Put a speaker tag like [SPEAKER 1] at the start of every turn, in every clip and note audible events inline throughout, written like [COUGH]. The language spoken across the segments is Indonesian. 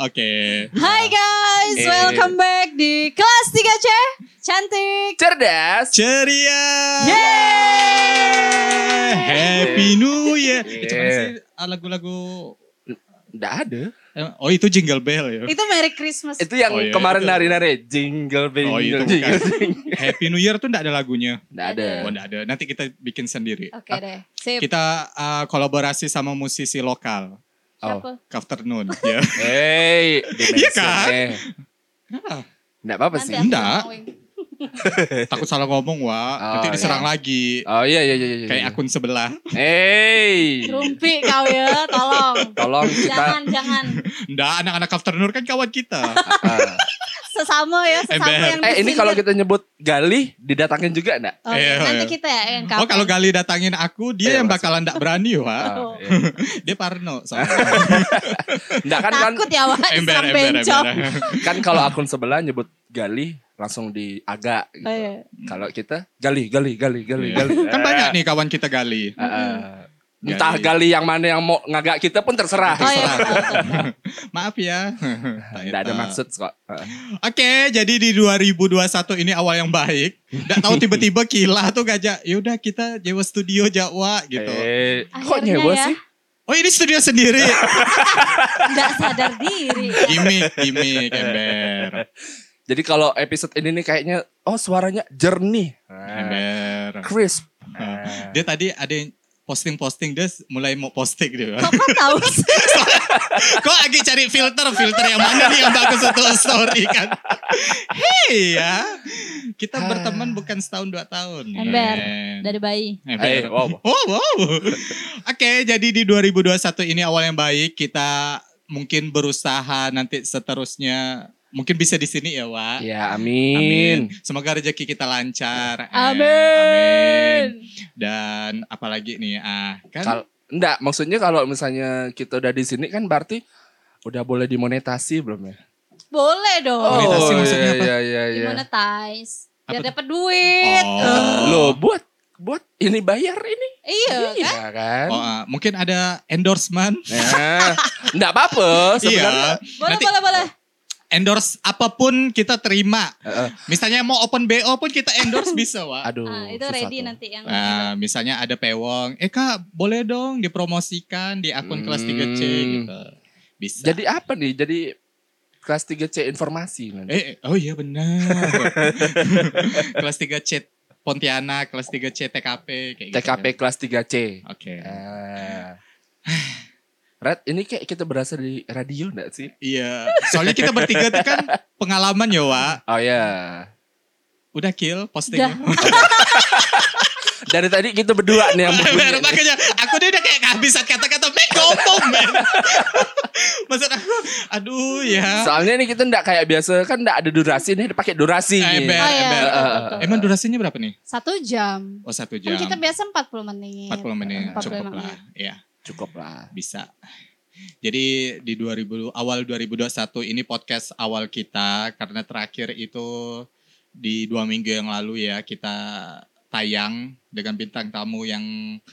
[SPEAKER 1] Oke.
[SPEAKER 2] Hai guys,
[SPEAKER 1] Eh.
[SPEAKER 2] welcome back di kelas 3C. Cantik.
[SPEAKER 3] Cerdas.
[SPEAKER 1] Ceria. Happy New Year. Itu mana sih ah, lagu-lagu
[SPEAKER 3] Nggak ada.
[SPEAKER 1] eh, Oh itu Jingle Bell ya.
[SPEAKER 2] Itu Merry Christmas.
[SPEAKER 3] Itu yang
[SPEAKER 1] Oh, iya,
[SPEAKER 3] kemarin
[SPEAKER 1] itu.
[SPEAKER 3] nari-nari. Jingle bell.
[SPEAKER 1] Oh, itu
[SPEAKER 3] jingle,
[SPEAKER 1] bukan.
[SPEAKER 3] jingle.
[SPEAKER 1] Happy New Year tuh enggak ada lagunya.
[SPEAKER 3] Nggak ada.
[SPEAKER 1] Oh enggak ada. Nanti kita bikin sendiri.
[SPEAKER 2] Oke deh. Sip.
[SPEAKER 1] Kita ah, kolaborasi sama musisi lokal.
[SPEAKER 3] oh.
[SPEAKER 2] Siapa? [LAUGHS]
[SPEAKER 1] Afternoon ya.
[SPEAKER 3] Hey,
[SPEAKER 1] Iya kan?
[SPEAKER 3] Eh,
[SPEAKER 1] Kenapa?
[SPEAKER 3] Nggak apa-apa
[SPEAKER 2] Nanti
[SPEAKER 3] sih.
[SPEAKER 2] aku
[SPEAKER 1] Enggak.
[SPEAKER 2] ngomongin.
[SPEAKER 1] Takut salah ngomong, Wak.
[SPEAKER 3] Oh,
[SPEAKER 1] Nanti
[SPEAKER 3] iya.
[SPEAKER 1] diserang lagi.
[SPEAKER 3] Oh iya iya iya. iya.
[SPEAKER 1] Kayak akun sebelah.
[SPEAKER 3] Hey,
[SPEAKER 2] Rumpi kau ya, tolong.
[SPEAKER 3] tolong kita.
[SPEAKER 2] Jangan, jangan.
[SPEAKER 1] Enggak, anak-anak Afternoon kan kawan kita.
[SPEAKER 3] Ah.
[SPEAKER 2] Sesama ya, sesama
[SPEAKER 1] Ember.
[SPEAKER 2] yang
[SPEAKER 3] eh ini
[SPEAKER 2] disindir.
[SPEAKER 3] kalau kita nyebut Galih didatangin juga nggak?
[SPEAKER 2] Oke,
[SPEAKER 1] Iya,
[SPEAKER 2] nanti
[SPEAKER 1] iya.
[SPEAKER 2] kita ya yang
[SPEAKER 1] Oh
[SPEAKER 2] [LAUGHS] kapan.
[SPEAKER 1] kalau Gali datangin aku, dia
[SPEAKER 3] Iya,
[SPEAKER 1] yang bakalan enggak berani, Wak.
[SPEAKER 3] Ah,
[SPEAKER 2] Oh.
[SPEAKER 3] iya.
[SPEAKER 1] Dia parno soalnya.
[SPEAKER 3] Nggak kan kan
[SPEAKER 2] takut ya, Wak,
[SPEAKER 1] ember,
[SPEAKER 2] diserang
[SPEAKER 1] ember,
[SPEAKER 2] bencong.
[SPEAKER 1] ember.
[SPEAKER 3] kan kalau akun sebelah nyebut Galih langsung di agak. Gitu.
[SPEAKER 2] Oh, iya.
[SPEAKER 3] Kalau kita Galih Galih Galih
[SPEAKER 1] Iya.
[SPEAKER 3] Galih Galih.
[SPEAKER 1] Kan banyak nih kawan kita Gali.
[SPEAKER 3] Ah, ah. entah Galih yang mana yang mau ngagak kita pun terserah.
[SPEAKER 2] Oh, iya.
[SPEAKER 1] [LAUGHS] Maaf ya.
[SPEAKER 3] Nggak ada maksud kok. Ah.
[SPEAKER 1] Oke, jadi di 2021 ini awal yang baik. Nggak tahu tiba-tiba Kila tuh ngajak, yaudah kita nyewa studio Jawa gitu.
[SPEAKER 3] Eh, kok
[SPEAKER 2] Akhirnya
[SPEAKER 3] nyewa
[SPEAKER 2] ya.
[SPEAKER 3] sih?
[SPEAKER 1] Oh ini studio sendiri.
[SPEAKER 2] Enggak sadar diri.
[SPEAKER 1] gimik, gimik, ember.
[SPEAKER 3] Jadi kalau episode ini nih kayaknya oh suaranya jernih,
[SPEAKER 1] Ember.
[SPEAKER 3] crisp.
[SPEAKER 1] Dia tadi ada yang posting-posting, dia mulai mau posting gitu. dia.
[SPEAKER 2] Kok kau tahu sih?
[SPEAKER 1] Kok lagi cari filter, filter yang mana nih yang bagus untuk story kan? Hei ya, kita
[SPEAKER 3] Ah.
[SPEAKER 1] berteman bukan setahun dua tahun.
[SPEAKER 2] Ember.
[SPEAKER 1] Men.
[SPEAKER 2] Dari bayi.
[SPEAKER 1] Ember.
[SPEAKER 3] Eh, wow.
[SPEAKER 1] Oh wow. Oke, jadi di 2021 ini awal yang baik kita mungkin berusaha nanti seterusnya mungkin bisa di sini ya, Wak.
[SPEAKER 3] Ya amin.
[SPEAKER 1] Semoga rezeki kita lancar. Eh,
[SPEAKER 2] Ya. Amin.
[SPEAKER 1] Dan apalagi nih ah kan
[SPEAKER 3] Kal- enggak, maksudnya kalau misalnya kita udah di sini kan berarti udah boleh dimonetasi belum ya?
[SPEAKER 2] Boleh dong.
[SPEAKER 1] Monetasi maksudnya apa?
[SPEAKER 3] Oh, iya iya iya.
[SPEAKER 2] dimonetize biar
[SPEAKER 1] Apa tuh?
[SPEAKER 2] dapat duit.
[SPEAKER 1] Oh.
[SPEAKER 3] Loh, buat buat ini bayar ini.
[SPEAKER 2] Iya kan?
[SPEAKER 3] Iya kan?
[SPEAKER 1] Oh, ah, mungkin ada endorsement.
[SPEAKER 3] Nah, enggak [LAUGHS] apa-apa sebenarnya.
[SPEAKER 1] Iya.
[SPEAKER 2] Boleh,
[SPEAKER 1] Nanti
[SPEAKER 2] boleh, boleh.
[SPEAKER 1] endorse apapun kita terima.
[SPEAKER 3] Eh, eh,
[SPEAKER 1] Misalnya mau open BO pun kita
[SPEAKER 3] [LAUGHS]
[SPEAKER 1] endorse bisa, Wak.
[SPEAKER 3] aduh.
[SPEAKER 2] Ah, itu
[SPEAKER 3] susah
[SPEAKER 2] ready
[SPEAKER 3] tuh.
[SPEAKER 2] nanti yang
[SPEAKER 1] Nah, misalnya ada pewong, eh kak boleh dong dipromosikan di akun kelas 3C
[SPEAKER 3] Hmm.
[SPEAKER 1] gitu. Bisa.
[SPEAKER 3] Jadi apa nih? Jadi kelas 3C informasi nanti.
[SPEAKER 1] eh, eh, oh iya
[SPEAKER 3] [LAUGHS]
[SPEAKER 1] benar. kelas 3C Pontianak, kelas 3C TKP kayak gitu.
[SPEAKER 3] TKP kelas 3C.
[SPEAKER 1] Oke.
[SPEAKER 3] Ah. Red, ini kayak kita berasa di radio enggak sih?
[SPEAKER 1] Iya. Soalnya kita bertiga tuh kan pengalaman ya, Wak.
[SPEAKER 3] Oh ya.
[SPEAKER 1] Udah kill postingnya.
[SPEAKER 3] Dari tadi kita berdua nih yang
[SPEAKER 1] [LAUGHS] Bener,
[SPEAKER 3] berbunyi.
[SPEAKER 1] makanya aku dia udah kayak kehabisan kata-kata men ngomong men [LAUGHS] maksud aku aduh ya
[SPEAKER 3] Soalnya ini kita enggak kayak biasa kan enggak ada durasi nih, pakai durasi nih.
[SPEAKER 1] ember
[SPEAKER 2] Oh, iya,
[SPEAKER 1] ember
[SPEAKER 2] betul,
[SPEAKER 3] betul,
[SPEAKER 2] betul.
[SPEAKER 1] Eh, emang durasinya berapa nih
[SPEAKER 2] satu jam.
[SPEAKER 1] oh satu jam
[SPEAKER 2] Kan kita biasa 40 menit.
[SPEAKER 1] 40 menit
[SPEAKER 2] 40
[SPEAKER 1] cukup lah
[SPEAKER 2] menit.
[SPEAKER 1] ya
[SPEAKER 3] Cukup lah.
[SPEAKER 1] bisa jadi di 2000 awal 2021 ini podcast awal kita karena terakhir itu di dua minggu yang lalu ya kita tayang dengan bintang tamu yang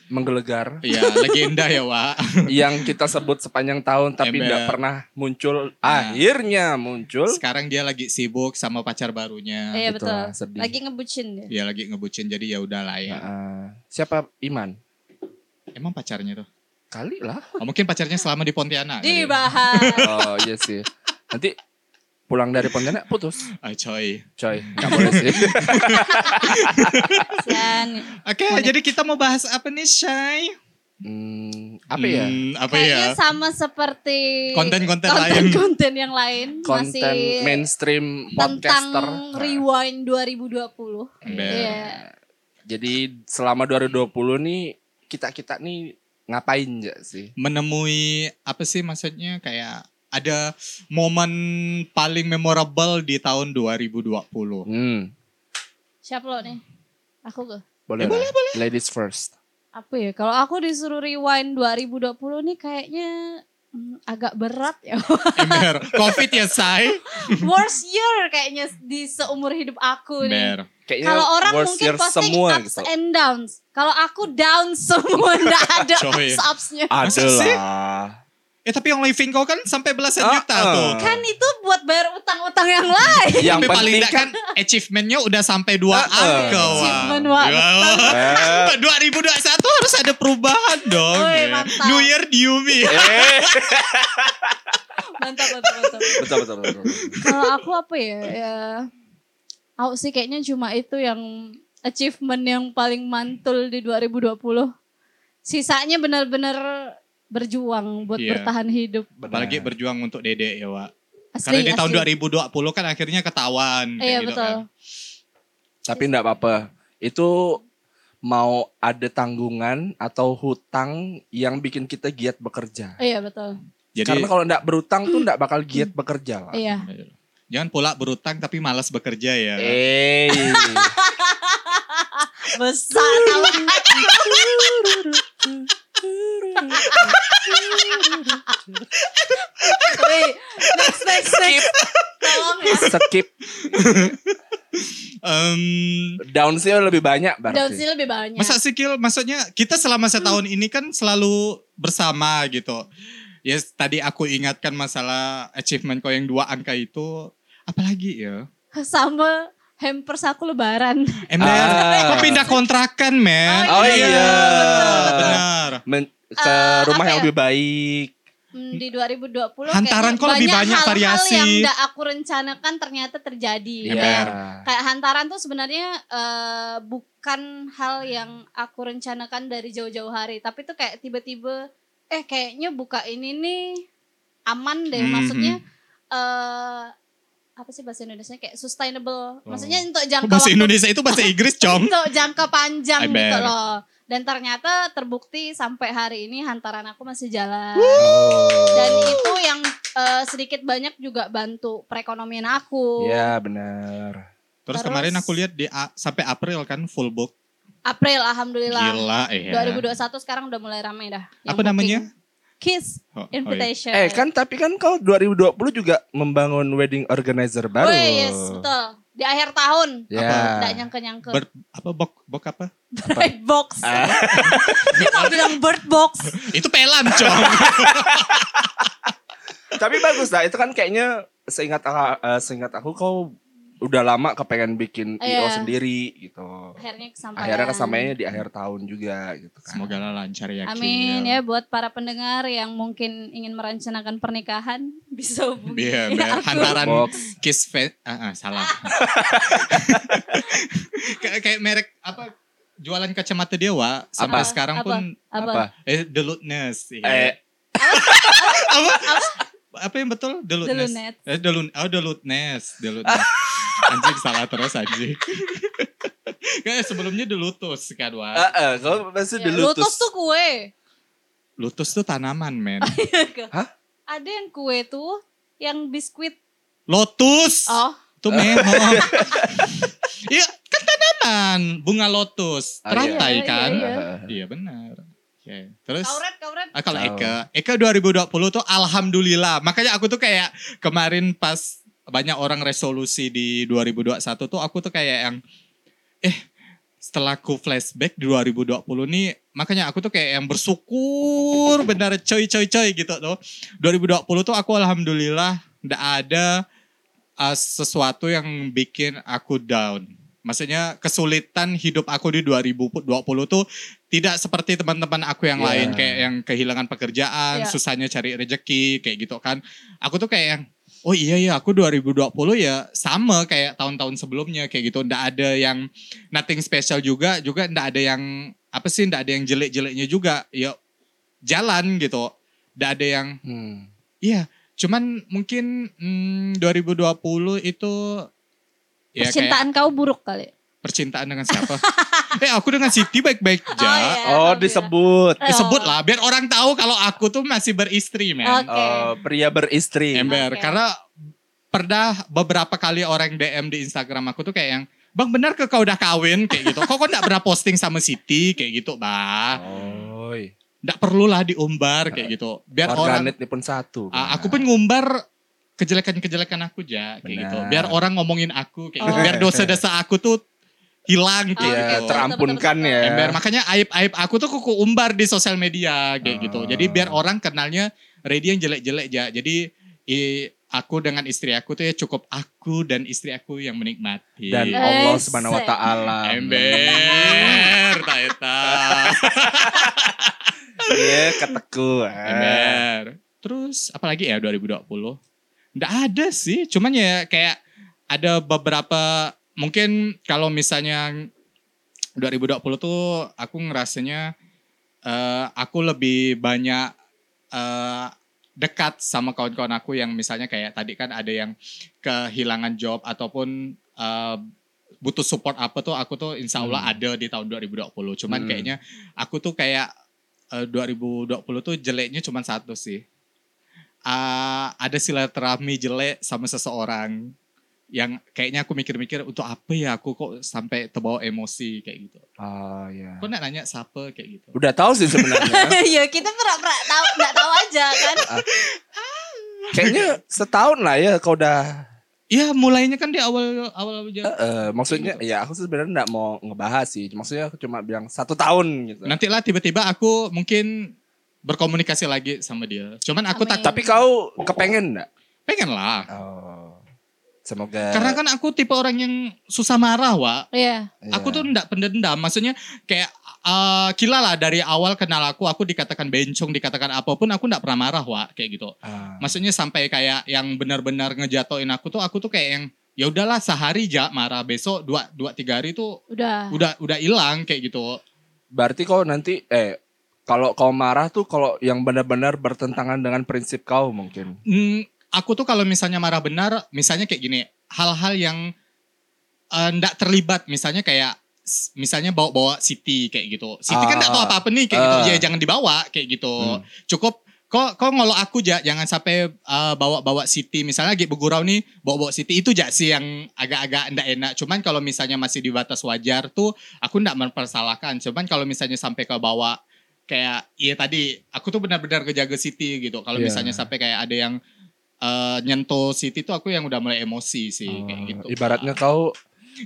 [SPEAKER 3] Menggelegar [LAUGHS]
[SPEAKER 1] ya legenda ya Wak.
[SPEAKER 3] yang kita sebut sepanjang tahun tapi
[SPEAKER 1] Ember.
[SPEAKER 3] enggak pernah muncul.
[SPEAKER 1] Nah.
[SPEAKER 3] Akhirnya muncul.
[SPEAKER 1] Sekarang dia lagi sibuk sama pacar barunya.
[SPEAKER 2] Iya
[SPEAKER 3] Gitu
[SPEAKER 2] betul.
[SPEAKER 3] lah, sedih.
[SPEAKER 2] Lagi ngebucin ya.
[SPEAKER 1] Dia lagi ngebucin jadi ya udahlah ya.
[SPEAKER 3] Ah, siapa Iman?
[SPEAKER 1] Emang pacarnya tuh?
[SPEAKER 3] Kali lah.
[SPEAKER 1] Oh, mungkin pacarnya selama di Pontianak. kali. ya?
[SPEAKER 2] Dibahas.
[SPEAKER 3] Oh iya sih. Nanti pulang dari Pontianak putus.
[SPEAKER 1] Ah, coy.
[SPEAKER 3] Coy, enggak boleh
[SPEAKER 1] [LAUGHS]
[SPEAKER 3] sih.
[SPEAKER 2] Dan
[SPEAKER 1] Oke, jadi kita mau bahas apa nih, Shay?
[SPEAKER 3] Hmm, apa ya?
[SPEAKER 1] Hmm, apa ya?
[SPEAKER 2] kayaknya sama seperti
[SPEAKER 1] Konten-konten lain.
[SPEAKER 2] konten yang lain
[SPEAKER 3] konten
[SPEAKER 2] masih
[SPEAKER 3] mainstream
[SPEAKER 2] tentang
[SPEAKER 3] podcaster.
[SPEAKER 2] rewind 2020.
[SPEAKER 1] Ember.
[SPEAKER 2] Iya.
[SPEAKER 3] Nah, Jadi selama 2020 nih kita-kita nih ngapain ya sih?
[SPEAKER 1] Menemui apa sih maksudnya kayak ada momen paling memorable di tahun
[SPEAKER 2] [LAUGHS]
[SPEAKER 1] 2020.
[SPEAKER 3] Hmm,
[SPEAKER 2] Siapa lo nih? Aku ke.
[SPEAKER 1] Ya,
[SPEAKER 3] boleh, boleh, boleh. Ladies first.
[SPEAKER 2] apa ya kalau aku disuruh rewind 2020 nih kayaknya hmm, agak berat ya [LAUGHS]
[SPEAKER 1] Ember, Covid ya, Shay?
[SPEAKER 2] worst year kayaknya di seumur hidup aku nih
[SPEAKER 1] Ember.
[SPEAKER 3] Kayaknya
[SPEAKER 2] kalau orang
[SPEAKER 3] Iya, worst
[SPEAKER 2] mungkin
[SPEAKER 3] year
[SPEAKER 2] posting
[SPEAKER 3] semua
[SPEAKER 2] ups
[SPEAKER 3] gitu.
[SPEAKER 2] and downs kalau aku down [LAUGHS] semua nggak ada
[SPEAKER 1] Coy.
[SPEAKER 3] Ah.
[SPEAKER 2] ups upsnya
[SPEAKER 1] Masa
[SPEAKER 3] Ada
[SPEAKER 1] sih?
[SPEAKER 3] lah.
[SPEAKER 1] Eh tapi yang living kau kan sampai belasan
[SPEAKER 3] Ah,
[SPEAKER 1] juta
[SPEAKER 3] ah.
[SPEAKER 1] tuh.
[SPEAKER 2] Kan itu buat bayar utang-utang yang lain.
[SPEAKER 3] Yang
[SPEAKER 1] tapi paling
[SPEAKER 3] penting
[SPEAKER 1] tidak kan achievementnya udah sampai dua
[SPEAKER 3] Ah, ah.
[SPEAKER 1] angka. Wak.
[SPEAKER 2] Achievement, Wak.
[SPEAKER 1] Ya, Wak.
[SPEAKER 3] Eh.
[SPEAKER 1] 2021 harus ada perubahan dong.
[SPEAKER 2] Woi,
[SPEAKER 1] ya.
[SPEAKER 2] mantap. Iya.
[SPEAKER 1] New Year New Me.
[SPEAKER 3] Eh.
[SPEAKER 2] Mantap, mantap, mantap.
[SPEAKER 3] Betul betul betul. betul.
[SPEAKER 2] Kalau aku apa ya? ya aku sih kayaknya cuma itu yang achievement yang paling mantul di 2020. Sisanya benar-benar berjuang buat
[SPEAKER 1] Iya.
[SPEAKER 2] bertahan hidup.
[SPEAKER 1] Apalagi berjuang untuk Dede ya, Wak. Karena
[SPEAKER 2] Asli,
[SPEAKER 1] di tahun
[SPEAKER 2] asli.
[SPEAKER 1] 2020 kan akhirnya ketahuan. kayak
[SPEAKER 2] Iya
[SPEAKER 1] gitu
[SPEAKER 2] betul.
[SPEAKER 1] kan.
[SPEAKER 3] Tapi enggak apa-apa. Itu mau ada tanggungan atau hutang yang bikin kita giat bekerja.
[SPEAKER 2] Iya betul.
[SPEAKER 1] Jadi
[SPEAKER 3] Karena kalau enggak berutang tuh enggak bakal giat bekerja lah.
[SPEAKER 2] Iya.
[SPEAKER 1] jangan pula berutang tapi malas bekerja ya.
[SPEAKER 3] Eh.
[SPEAKER 2] Besar tahun. Wih, next next next. Tolong ya.
[SPEAKER 3] Skip
[SPEAKER 1] Em,
[SPEAKER 3] down sih lebih banyak
[SPEAKER 2] Daun
[SPEAKER 3] berarti.
[SPEAKER 2] sih lebih banyak.
[SPEAKER 1] masa sih Kil? Maksudnya kita selama
[SPEAKER 2] Hmm.
[SPEAKER 1] setahun ini kan selalu bersama gitu. Ya tadi aku ingatkan masalah achievement kau yang dua angka itu. Apalagi ya?
[SPEAKER 2] Sama hampers aku lebaran.
[SPEAKER 1] Ember, kau
[SPEAKER 3] Ah.
[SPEAKER 1] pindah kontrakan men.
[SPEAKER 3] Oh, iya.
[SPEAKER 1] Benar, benar.
[SPEAKER 3] Men- ke
[SPEAKER 2] Eh,
[SPEAKER 3] rumah
[SPEAKER 2] apa
[SPEAKER 3] yang
[SPEAKER 2] ya?
[SPEAKER 3] lebih baik.
[SPEAKER 2] Hmm, di 2020
[SPEAKER 1] Hantaran
[SPEAKER 2] kayaknya
[SPEAKER 1] kok lebih banyak
[SPEAKER 2] hal-hal
[SPEAKER 1] variasi.
[SPEAKER 2] yang gak aku rencanakan ternyata terjadi.
[SPEAKER 1] Iya.
[SPEAKER 2] Kayak, kayak hantaran tuh sebenarnya eh, bukan hal yang aku rencanakan dari jauh-jauh hari, tapi tuh kayak tiba-tiba eh kayaknya buka ini nih aman deh
[SPEAKER 1] Mhm.
[SPEAKER 2] maksudnya eh apa sih bahasa Indonesia kayak sustainable. Maksudnya untuk
[SPEAKER 1] Kok
[SPEAKER 2] jangka
[SPEAKER 1] Bahasa
[SPEAKER 2] waktu
[SPEAKER 1] Indonesia itu bahasa Inggris,
[SPEAKER 2] [LAUGHS]
[SPEAKER 1] Cong.
[SPEAKER 2] untuk jangka panjang
[SPEAKER 1] Ember.
[SPEAKER 2] gitu loh. Dan ternyata terbukti sampai hari ini hantaran aku masih jalan.
[SPEAKER 3] Iya.
[SPEAKER 2] Dan itu yang eh, sedikit banyak juga bantu perekonomian aku.
[SPEAKER 3] Iya benar.
[SPEAKER 1] Terus,
[SPEAKER 2] Terus-
[SPEAKER 1] kemarin aku lihat di A- sampai April kan full book.
[SPEAKER 2] April alhamdulillah.
[SPEAKER 1] Gila ya.
[SPEAKER 2] 2021 sekarang udah mulai rame dah. yang
[SPEAKER 1] Apa namanya?
[SPEAKER 2] booking. Kiss
[SPEAKER 1] Oh, oh iya.
[SPEAKER 2] Invitation.
[SPEAKER 3] Eh kan tapi kan kau 2020 juga membangun wedding organizer baru.
[SPEAKER 2] Oh yes, betul. Di akhir tahun.
[SPEAKER 3] Ya.
[SPEAKER 1] Apa?
[SPEAKER 2] Nggak nyangka-nyangka.
[SPEAKER 1] Ber- apa bok bok apa?
[SPEAKER 2] [LAUGHS]
[SPEAKER 1] [LAUGHS]
[SPEAKER 2] Bird box. [LAUGHS] Dia mau bilang bird box.
[SPEAKER 1] Itu pelan, Cong.
[SPEAKER 3] [LAUGHS] Tapi bagus lah itu kan kayaknya seingat aku- eh, seingat aku kau udah lama kepengen bikin IO
[SPEAKER 2] Iya.
[SPEAKER 3] sendiri gitu.
[SPEAKER 2] Akhirnya kesampaian.
[SPEAKER 3] Akhirnya kesampaiannya di akhir tahun juga gitu kan.
[SPEAKER 1] Semoga lah lancar ya.
[SPEAKER 2] Amin
[SPEAKER 1] Kil.
[SPEAKER 2] ya buat para pendengar yang mungkin ingin merencanakan pernikahan [LAUGHS] bisa hubungi
[SPEAKER 1] Biar, biar
[SPEAKER 2] aku.
[SPEAKER 1] Iya, hantaran
[SPEAKER 3] Box.
[SPEAKER 1] kiss fe- ah, ah, salah. [LAUGHS] Kay- kayak merek apa jualan kacamata dewa sampai
[SPEAKER 3] Apa?
[SPEAKER 1] sekarang
[SPEAKER 2] Apa?
[SPEAKER 1] pun
[SPEAKER 2] Apa?
[SPEAKER 1] eh the Lutness. iya.
[SPEAKER 3] Eh,
[SPEAKER 1] apa yang betul? The
[SPEAKER 2] The
[SPEAKER 1] Lutness.
[SPEAKER 2] Lunet.
[SPEAKER 1] Eh, the Lun- oh, the Lutness. The
[SPEAKER 2] [LAUGHS]
[SPEAKER 1] Lutness. anjing salah terus anjing. [LAUGHS] Kayak sebelumnya the Lutus kan, Wak.
[SPEAKER 2] Ah.
[SPEAKER 3] eh, eh, kau pasti
[SPEAKER 2] Ya,
[SPEAKER 3] di
[SPEAKER 2] Lotus
[SPEAKER 3] Lutus.
[SPEAKER 2] tuh kue.
[SPEAKER 1] Lutus tuh tanaman,
[SPEAKER 2] [LAUGHS]
[SPEAKER 1] men.
[SPEAKER 3] Hah?
[SPEAKER 2] Ada yang kue tuh yang biskuit.
[SPEAKER 1] Lotus.
[SPEAKER 2] Oh,
[SPEAKER 1] Itu
[SPEAKER 2] [LAUGHS]
[SPEAKER 1] mehong. Iya, kan tanaman, bunga lotus,
[SPEAKER 3] Oh, iya.
[SPEAKER 1] teratai
[SPEAKER 2] Iya,
[SPEAKER 1] kan?
[SPEAKER 2] iya,
[SPEAKER 1] Iya, benar. Oke, Terus
[SPEAKER 2] kauret kauret.
[SPEAKER 1] ah, kalau
[SPEAKER 3] Tahu.
[SPEAKER 1] Eka, Eka 2020 tuh alhamdulillah. Makanya aku tuh kayak kemarin pas banyak orang resolusi di 2021 tuh aku tuh kayak yang eh setelah aku flashback di 2020 nih makanya aku tuh kayak yang bersyukur benar coy coy coy gitu tuh 2020 tuh aku alhamdulillah ndak ada uh, sesuatu yang bikin aku down. Maksudnya kesulitan hidup aku di 2020 tuh tidak seperti teman-teman aku yang
[SPEAKER 3] Iya.
[SPEAKER 1] lain kayak yang kehilangan pekerjaan,
[SPEAKER 2] Iya.
[SPEAKER 1] susahnya cari rezeki kayak gitu kan. Aku tuh kayak yang oh iya ya aku 2020 ya sama kayak tahun-tahun sebelumnya kayak gitu ndak ada yang nothing special juga juga ndak ada yang apa sih ndak ada yang jelek-jeleknya juga ya jalan gitu. Ndak ada yang
[SPEAKER 3] Hmm.
[SPEAKER 1] Iya, cuman mungkin mm, 2020 itu ya kayak
[SPEAKER 2] Percintaan kau buruk kali.
[SPEAKER 1] percintaan dengan siapa? [LAUGHS] eh, aku dengan Siti baik-baik aja.
[SPEAKER 2] iya,
[SPEAKER 3] Oh,
[SPEAKER 2] alhamdulillah. [LAUGHS]
[SPEAKER 3] disebut.
[SPEAKER 1] Disebut Ya, lah biar orang tahu kalau aku tuh masih beristri, men.
[SPEAKER 2] Oke.
[SPEAKER 3] Oh, pria beristri.
[SPEAKER 1] Ember,
[SPEAKER 2] Oke.
[SPEAKER 1] karena pernah beberapa kali orang DM di Instagram aku tuh kayak yang Bang benar ke kau udah kawin kayak gitu. Kok kau enggak pernah posting sama Siti kayak gitu, Bah.
[SPEAKER 3] Oh,
[SPEAKER 1] Enggak perlulah diumbar kayak gitu. Biar orang
[SPEAKER 3] warganet ini pun satu.
[SPEAKER 1] Ah, aku pun ngumbar kejelekan-kejelekan aku ja kayak
[SPEAKER 3] Benar.
[SPEAKER 1] gitu. Biar orang ngomongin aku kayak gitu.
[SPEAKER 2] Oh.
[SPEAKER 1] Biar dosa-dosa aku tuh hilang
[SPEAKER 2] Oh,
[SPEAKER 1] gitu.
[SPEAKER 3] ya
[SPEAKER 2] oke,
[SPEAKER 3] terampunkan
[SPEAKER 2] betul,
[SPEAKER 3] ya.
[SPEAKER 2] betul,
[SPEAKER 1] Ember. Makanya aib-aib aku tuh kuku umbar di sosial media kayak
[SPEAKER 3] Ah.
[SPEAKER 1] gitu. Jadi biar orang kenalnya Reddy yang jelek-jelek aja. Jadi i- aku dengan istri aku tuh ya cukup aku dan istri aku yang menikmati.
[SPEAKER 2] Eh,
[SPEAKER 3] Dan Allah Subhanahu wa
[SPEAKER 2] se-
[SPEAKER 3] taala.
[SPEAKER 1] Ember, tak eta.
[SPEAKER 3] Iya, keteku. ah.
[SPEAKER 1] Ember. Terus apalagi ya 2020? Nggak ada sih, cuman ya kayak ada beberapa mungkin kalau misalnya 2020 tuh aku ngerasanya eh, aku lebih banyak eh, dekat sama kawan-kawan aku yang misalnya kayak tadi kan ada yang kehilangan job ataupun eh, butuh support apa tuh aku tuh insya Allah
[SPEAKER 3] Hmm.
[SPEAKER 1] ada di tahun 2020 cuman
[SPEAKER 3] Hmm.
[SPEAKER 1] kayaknya aku tuh kayak eh, 2020 tuh jeleknya cuman satu sih Ah, ada silaturahmi jelek sama seseorang yang kayaknya aku mikir-mikir untuk apa ya aku kok sampai terbawa emosi kayak gitu
[SPEAKER 3] Oh iya.
[SPEAKER 1] Aku nak nanya siapa kayak gitu.
[SPEAKER 3] Udah tahu sih sebenarnya.
[SPEAKER 2] ya kita pura-pura tahu nggak tahu aja kan
[SPEAKER 3] Kayaknya setahun lah ya kau udah
[SPEAKER 1] Iya mulainya kan di awal awal aja.
[SPEAKER 3] eh, maksudnya ya aku sebenarnya nggak mau ngebahas sih. Maksudnya aku cuma bilang satu tahun gitu.
[SPEAKER 1] Nanti lah tiba-tiba aku mungkin berkomunikasi lagi sama dia. Cuman aku
[SPEAKER 2] Amin.
[SPEAKER 1] tak
[SPEAKER 3] Tapi kau kepengen nggak?
[SPEAKER 1] pengen lah.
[SPEAKER 3] Oh. Semoga
[SPEAKER 1] Karena kan aku tipe orang yang susah marah, Wak.
[SPEAKER 2] Iya.
[SPEAKER 3] Iya.
[SPEAKER 1] Aku tuh ndak pendendam. Maksudnya kayak eh kila lah dari awal kenal aku, aku dikatakan bencong, dikatakan apapun, aku ndak pernah marah, Wak. Kayak gitu.
[SPEAKER 3] Ah.
[SPEAKER 1] Maksudnya sampai kayak yang benar-benar ngejatoin aku tuh, aku tuh kayak yang ya udahlah sehari aja marah besok dua dua tiga hari tuh
[SPEAKER 2] udah
[SPEAKER 1] udah udah hilang kayak gitu
[SPEAKER 3] Berarti kau nanti eh kalau kau marah tuh kalau yang benar-benar bertentangan dengan prinsip kau mungkin.
[SPEAKER 1] Hmm, aku tuh kalau misalnya marah benar, misalnya kayak gini, hal-hal yang eh, ndak terlibat, misalnya kayak s- misalnya bawa-bawa Siti kayak gitu. Siti kan
[SPEAKER 3] Ah.
[SPEAKER 1] ndak tahu apa-apa nih kayak gitu.
[SPEAKER 3] Ah.
[SPEAKER 1] Ya jangan dibawa kayak gitu.
[SPEAKER 3] Hmm.
[SPEAKER 1] Cukup kok kok ngolok aku ja, jangan sampai eh, bawa-bawa Siti. Misalnya lagi bergurau nih, bawa-bawa Siti itu ja sih yang agak-agak ndak enak. Cuman kalau misalnya masih di batas wajar tuh aku ndak mempersalahkan. Cuman kalau misalnya sampai ke bawah kayak iya tadi aku tuh benar-benar kejaga Siti gitu. Kalau
[SPEAKER 3] Iya.
[SPEAKER 1] misalnya sampai kayak ada yang eh, nyentuh Siti tuh aku yang udah mulai emosi sih kayak
[SPEAKER 3] Oh,
[SPEAKER 1] gitu. [LAUGHS]
[SPEAKER 3] Ibaratnya kau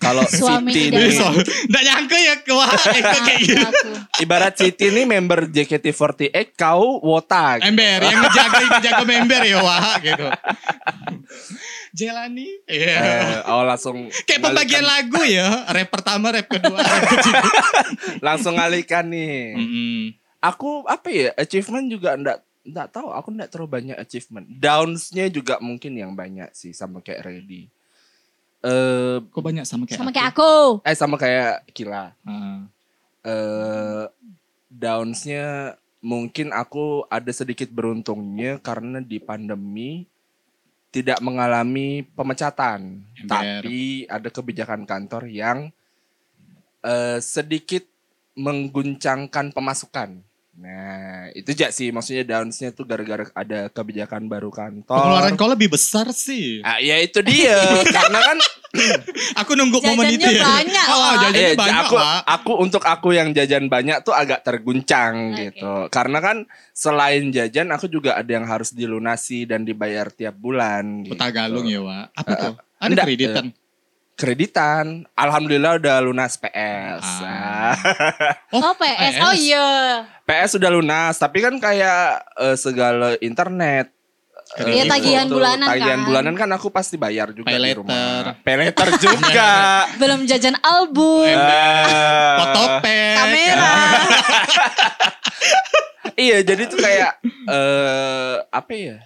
[SPEAKER 3] kalau
[SPEAKER 2] [LAUGHS] Suami
[SPEAKER 3] Siti
[SPEAKER 2] tidak
[SPEAKER 3] nih,
[SPEAKER 2] ya.
[SPEAKER 1] Enggak nyangka ya ke wah, eh, ke kayak gitu.
[SPEAKER 2] Aku.
[SPEAKER 3] ibarat Siti nih member JKT48 kau wota. gitu.
[SPEAKER 1] Ember yang ngejaga ngejaga member ya wah gitu. [LAUGHS] Jelani. Iya.
[SPEAKER 3] Eh, oh langsung
[SPEAKER 1] Kayak pembagian
[SPEAKER 3] ngalihkan-
[SPEAKER 1] lagu ya, rap pertama, rap
[SPEAKER 3] [LAUGHS]
[SPEAKER 1] kedua, rap ketiga.
[SPEAKER 3] langsung ngalihkan nih.
[SPEAKER 1] Mm-mm.
[SPEAKER 3] Aku apa ya achievement juga ndak ndak tahu aku ndak terlalu banyak achievement. Downs-nya juga mungkin yang banyak sih sama kayak Ready. Eh
[SPEAKER 1] Kok banyak sama kayak
[SPEAKER 2] Sama kayak aku.
[SPEAKER 3] eh sama kayak Kila.
[SPEAKER 1] Ah.
[SPEAKER 3] eh downs-nya mungkin aku ada sedikit beruntungnya karena di pandemi tidak mengalami pemecatan,
[SPEAKER 1] Ember.
[SPEAKER 3] tapi ada kebijakan kantor yang eh, sedikit mengguncangkan pemasukan. Nah, itu aja sih maksudnya downs-nya tuh gara-gara ada kebijakan baru
[SPEAKER 1] Pengeluaran
[SPEAKER 3] kantor.
[SPEAKER 1] kau lebih besar sih.
[SPEAKER 3] Ah, ya itu dia [LAUGHS] karena kan
[SPEAKER 1] Aku nunggu momen itu
[SPEAKER 2] Jajannya
[SPEAKER 1] ya.
[SPEAKER 2] banyak,
[SPEAKER 1] Oh,
[SPEAKER 2] Wak.
[SPEAKER 1] jajannya
[SPEAKER 3] Eh,
[SPEAKER 1] banyak,
[SPEAKER 3] aku,
[SPEAKER 1] Wak.
[SPEAKER 3] aku untuk aku yang jajan banyak tuh agak terguncang
[SPEAKER 2] Oke.
[SPEAKER 3] gitu. Karena kan selain jajan aku juga ada yang harus dilunasi dan dibayar tiap bulan. gitu.
[SPEAKER 1] Peta galung ya, Wak. Apa
[SPEAKER 3] Eh,
[SPEAKER 1] tuh? Ada
[SPEAKER 3] enggak, eh,
[SPEAKER 1] kreditan.
[SPEAKER 3] Kreditan. Alhamdulillah udah lunas PS.
[SPEAKER 1] Ah.
[SPEAKER 3] [LAUGHS] Ah.
[SPEAKER 1] Oh,
[SPEAKER 2] Oh, PS.
[SPEAKER 1] PS.
[SPEAKER 2] Oh iya.
[SPEAKER 3] PS udah lunas, tapi kan kayak eh, segala internet eh,
[SPEAKER 2] Iya, tagihan
[SPEAKER 3] itu,
[SPEAKER 2] bulanan
[SPEAKER 3] Tagihan
[SPEAKER 2] kan.
[SPEAKER 3] bulanan kan aku pasti bayar juga
[SPEAKER 1] Pay
[SPEAKER 3] di
[SPEAKER 1] later.
[SPEAKER 3] rumah. Pay later
[SPEAKER 1] [LAUGHS]
[SPEAKER 3] juga.
[SPEAKER 2] Belum jajan album.
[SPEAKER 3] Eh,
[SPEAKER 1] Potopet.
[SPEAKER 2] Kamera.
[SPEAKER 3] Iya, jadi tuh kayak eh apa ya?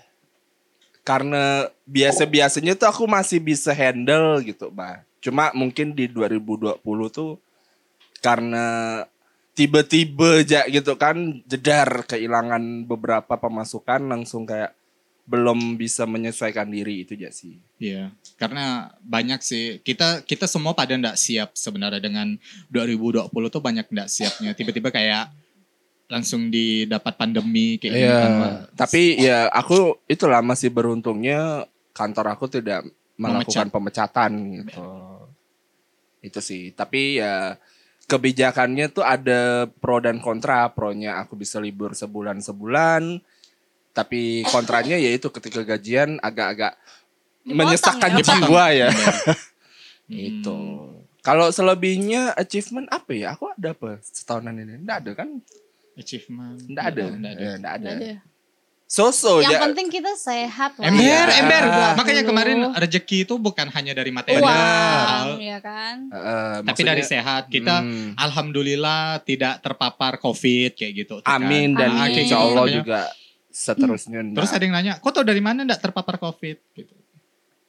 [SPEAKER 3] Karena biasa-biasanya tuh aku masih bisa handle gitu, Bah. Cuma mungkin di 2020 tuh karena tiba-tiba aja gitu kan jedar kehilangan beberapa pemasukan langsung kayak belum bisa menyesuaikan diri itu aja sih.
[SPEAKER 1] Iya, karena banyak sih kita kita semua pada ndak siap sebenarnya dengan 2020 tuh banyak ndak siapnya. Tiba-tiba kayak langsung didapat pandemi
[SPEAKER 2] Iya.
[SPEAKER 1] kayak gitu kan, Wak.
[SPEAKER 3] Iya, Tapi ya aku itulah masih beruntungnya kantor aku tidak melakukan pemecatan gitu. Itu sih. Tapi ya kebijakannya tuh ada pro dan kontra. Pronya aku bisa libur sebulan sebulan. Tapi kontranya yaitu ketika gajian agak-agak
[SPEAKER 2] Dipotong
[SPEAKER 3] menyesakkan
[SPEAKER 2] ya, Pak?
[SPEAKER 3] jiwa ya.
[SPEAKER 1] ya, Hmm.
[SPEAKER 3] Itu. Kalau selebihnya achievement apa ya? Aku ada apa setahunan ini? Enggak ada kan?
[SPEAKER 1] Achievement.
[SPEAKER 3] Enggak ada.
[SPEAKER 1] Nggak ada. Oh,
[SPEAKER 3] Ya, Enggak ada.
[SPEAKER 2] Aja.
[SPEAKER 3] So-so
[SPEAKER 2] Yang
[SPEAKER 3] ya.
[SPEAKER 2] penting kita sehat lah.
[SPEAKER 1] Ember,
[SPEAKER 3] Iya.
[SPEAKER 1] ember.
[SPEAKER 2] Dua
[SPEAKER 1] Makanya
[SPEAKER 2] puluh.
[SPEAKER 1] kemarin rezeki itu bukan hanya dari material,
[SPEAKER 2] uang, ya kan?
[SPEAKER 3] Heeh,
[SPEAKER 1] tapi
[SPEAKER 3] maksudnya-
[SPEAKER 1] dari sehat. Kita
[SPEAKER 3] Hmm.
[SPEAKER 1] alhamdulillah tidak terpapar COVID kayak gitu. tuh kan.
[SPEAKER 3] Amin dan
[SPEAKER 1] Ah, kayak gitu
[SPEAKER 3] insya Allah
[SPEAKER 1] namanya.
[SPEAKER 3] juga seterusnya.
[SPEAKER 1] Terus ada yang nanya, kok tau dari mana ndak terpapar COVID? Gitu.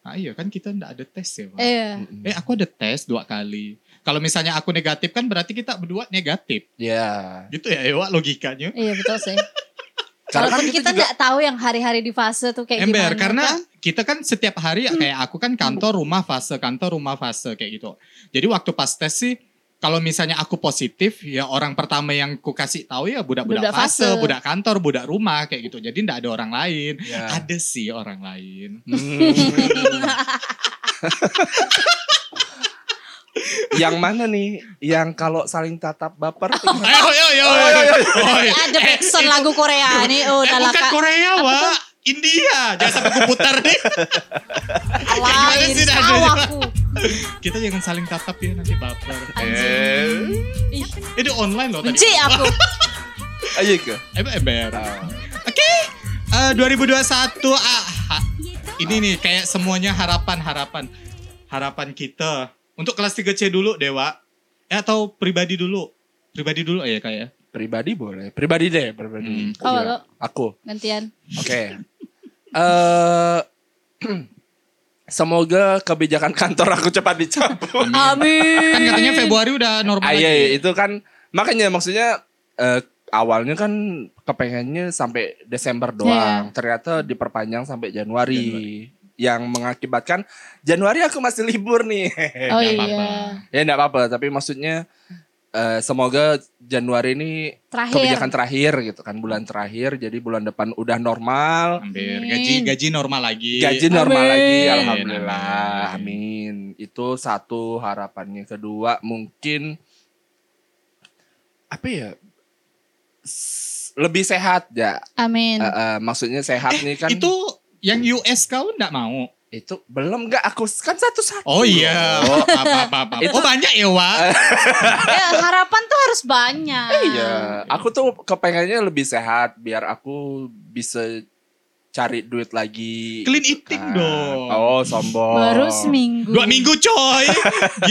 [SPEAKER 1] Ah iya kan kita ndak ada tes ya. Pak. Eh.
[SPEAKER 2] Iya.
[SPEAKER 3] ya.
[SPEAKER 1] aku ada tes dua kali. Kalau misalnya aku negatif kan berarti kita berdua negatif. Gitu ya Ewa logikanya.
[SPEAKER 2] Iya betul sih.
[SPEAKER 3] Karena kan
[SPEAKER 2] Walaupun
[SPEAKER 3] kita
[SPEAKER 2] kita
[SPEAKER 3] juga
[SPEAKER 2] nggak tahu yang hari-hari di fase tuh
[SPEAKER 1] Ember
[SPEAKER 2] kayak gimana. Hmm.
[SPEAKER 1] karena
[SPEAKER 2] kan?
[SPEAKER 1] kita kan setiap hari ya, kayak aku kan kantor rumah fase kantor rumah fase kayak gitu. Jadi waktu pas tes sih kalau misalnya aku positif ya orang pertama yang ku kasih tahu ya budak-budak
[SPEAKER 2] Budak
[SPEAKER 1] fase,
[SPEAKER 2] fase.
[SPEAKER 1] budak kantor, budak rumah kayak gitu. Jadi ndak ada orang lain.
[SPEAKER 3] Ya.
[SPEAKER 1] Ada sih orang lain.
[SPEAKER 3] Hmm. [LAUGHS] yang mana nih? Yang kalau saling tatap baper? tuh gimana?
[SPEAKER 1] Ayo, ayo, ayo, ayo, ayo, ayo.
[SPEAKER 2] ada backsound lagu Korea ini
[SPEAKER 1] Eh,
[SPEAKER 2] oh
[SPEAKER 1] bukan
[SPEAKER 2] dalaka
[SPEAKER 1] Korea, Wak. India. Jangan sampai aku putar nih.
[SPEAKER 2] lain
[SPEAKER 1] sih, Nada?
[SPEAKER 2] tahu aku.
[SPEAKER 1] Kita jangan saling tatap ya nanti baper.
[SPEAKER 3] Eh,
[SPEAKER 2] Ih,
[SPEAKER 1] Itu online loh tadi.
[SPEAKER 2] Benci aku.
[SPEAKER 3] ayo ke.
[SPEAKER 1] Ember, ember.
[SPEAKER 3] Ah.
[SPEAKER 1] Oke. Eh, 2021 ah, ha- ini nih kayak semuanya harapan-harapan. Harapan kita. Untuk kelas 3C dulu, Dewa. Eh, atau pribadi dulu. Pribadi dulu ya kayak.
[SPEAKER 3] Pribadi boleh. Pribadi deh,
[SPEAKER 1] Mm.
[SPEAKER 3] pribadi.
[SPEAKER 2] Hmm. Oh,
[SPEAKER 3] Iya.
[SPEAKER 2] lo.
[SPEAKER 3] Aku.
[SPEAKER 2] Gantian.
[SPEAKER 3] Oke. Eh [CLEARS THROAT] semoga kebijakan kantor aku cepat dicabut.
[SPEAKER 2] Amin.
[SPEAKER 1] Kan katanya Februari udah normal
[SPEAKER 3] Ah,
[SPEAKER 1] lagi.
[SPEAKER 3] iya, iya, itu kan makanya maksudnya eh, awalnya kan kepengennya sampai Desember doang. Ternyata diperpanjang sampai Januari. Yang mengakibatkan Januari aku masih libur nih. [LAUGHS]
[SPEAKER 2] Oh
[SPEAKER 1] Eh, Nggak
[SPEAKER 2] iya.
[SPEAKER 1] apa-apa.
[SPEAKER 3] ya enggak apa-apa, tapi maksudnya eh, semoga Januari ini
[SPEAKER 2] Terakhir.
[SPEAKER 3] kebijakan terakhir gitu kan bulan terakhir jadi bulan depan udah normal
[SPEAKER 1] Hampir.
[SPEAKER 2] Amin.
[SPEAKER 1] Gaji gaji normal lagi.
[SPEAKER 3] gaji normal
[SPEAKER 2] Amin.
[SPEAKER 3] lagi
[SPEAKER 1] Amin,
[SPEAKER 3] alhamdulillah
[SPEAKER 1] amin.
[SPEAKER 3] amin itu satu harapannya kedua mungkin apa ya S- lebih sehat ya
[SPEAKER 2] Amin.
[SPEAKER 3] Eh, eh, maksudnya sehat nih kan
[SPEAKER 1] Itu yang US kau ndak mau?
[SPEAKER 3] itu belum nggak aku kan satu satu
[SPEAKER 1] Oh iya. Oh, apa, apa, apa.
[SPEAKER 3] Itu-
[SPEAKER 1] oh banyak ya,
[SPEAKER 3] Eh.
[SPEAKER 1] Wak.
[SPEAKER 2] Ya, harapan tuh harus banyak.
[SPEAKER 3] iya aku tuh kepengennya lebih sehat biar aku bisa cari duit lagi
[SPEAKER 1] Clean
[SPEAKER 3] gitu
[SPEAKER 1] eating
[SPEAKER 3] kan.
[SPEAKER 1] dong.
[SPEAKER 3] oh sombong
[SPEAKER 2] Baru seminggu.
[SPEAKER 1] Dua minggu coy.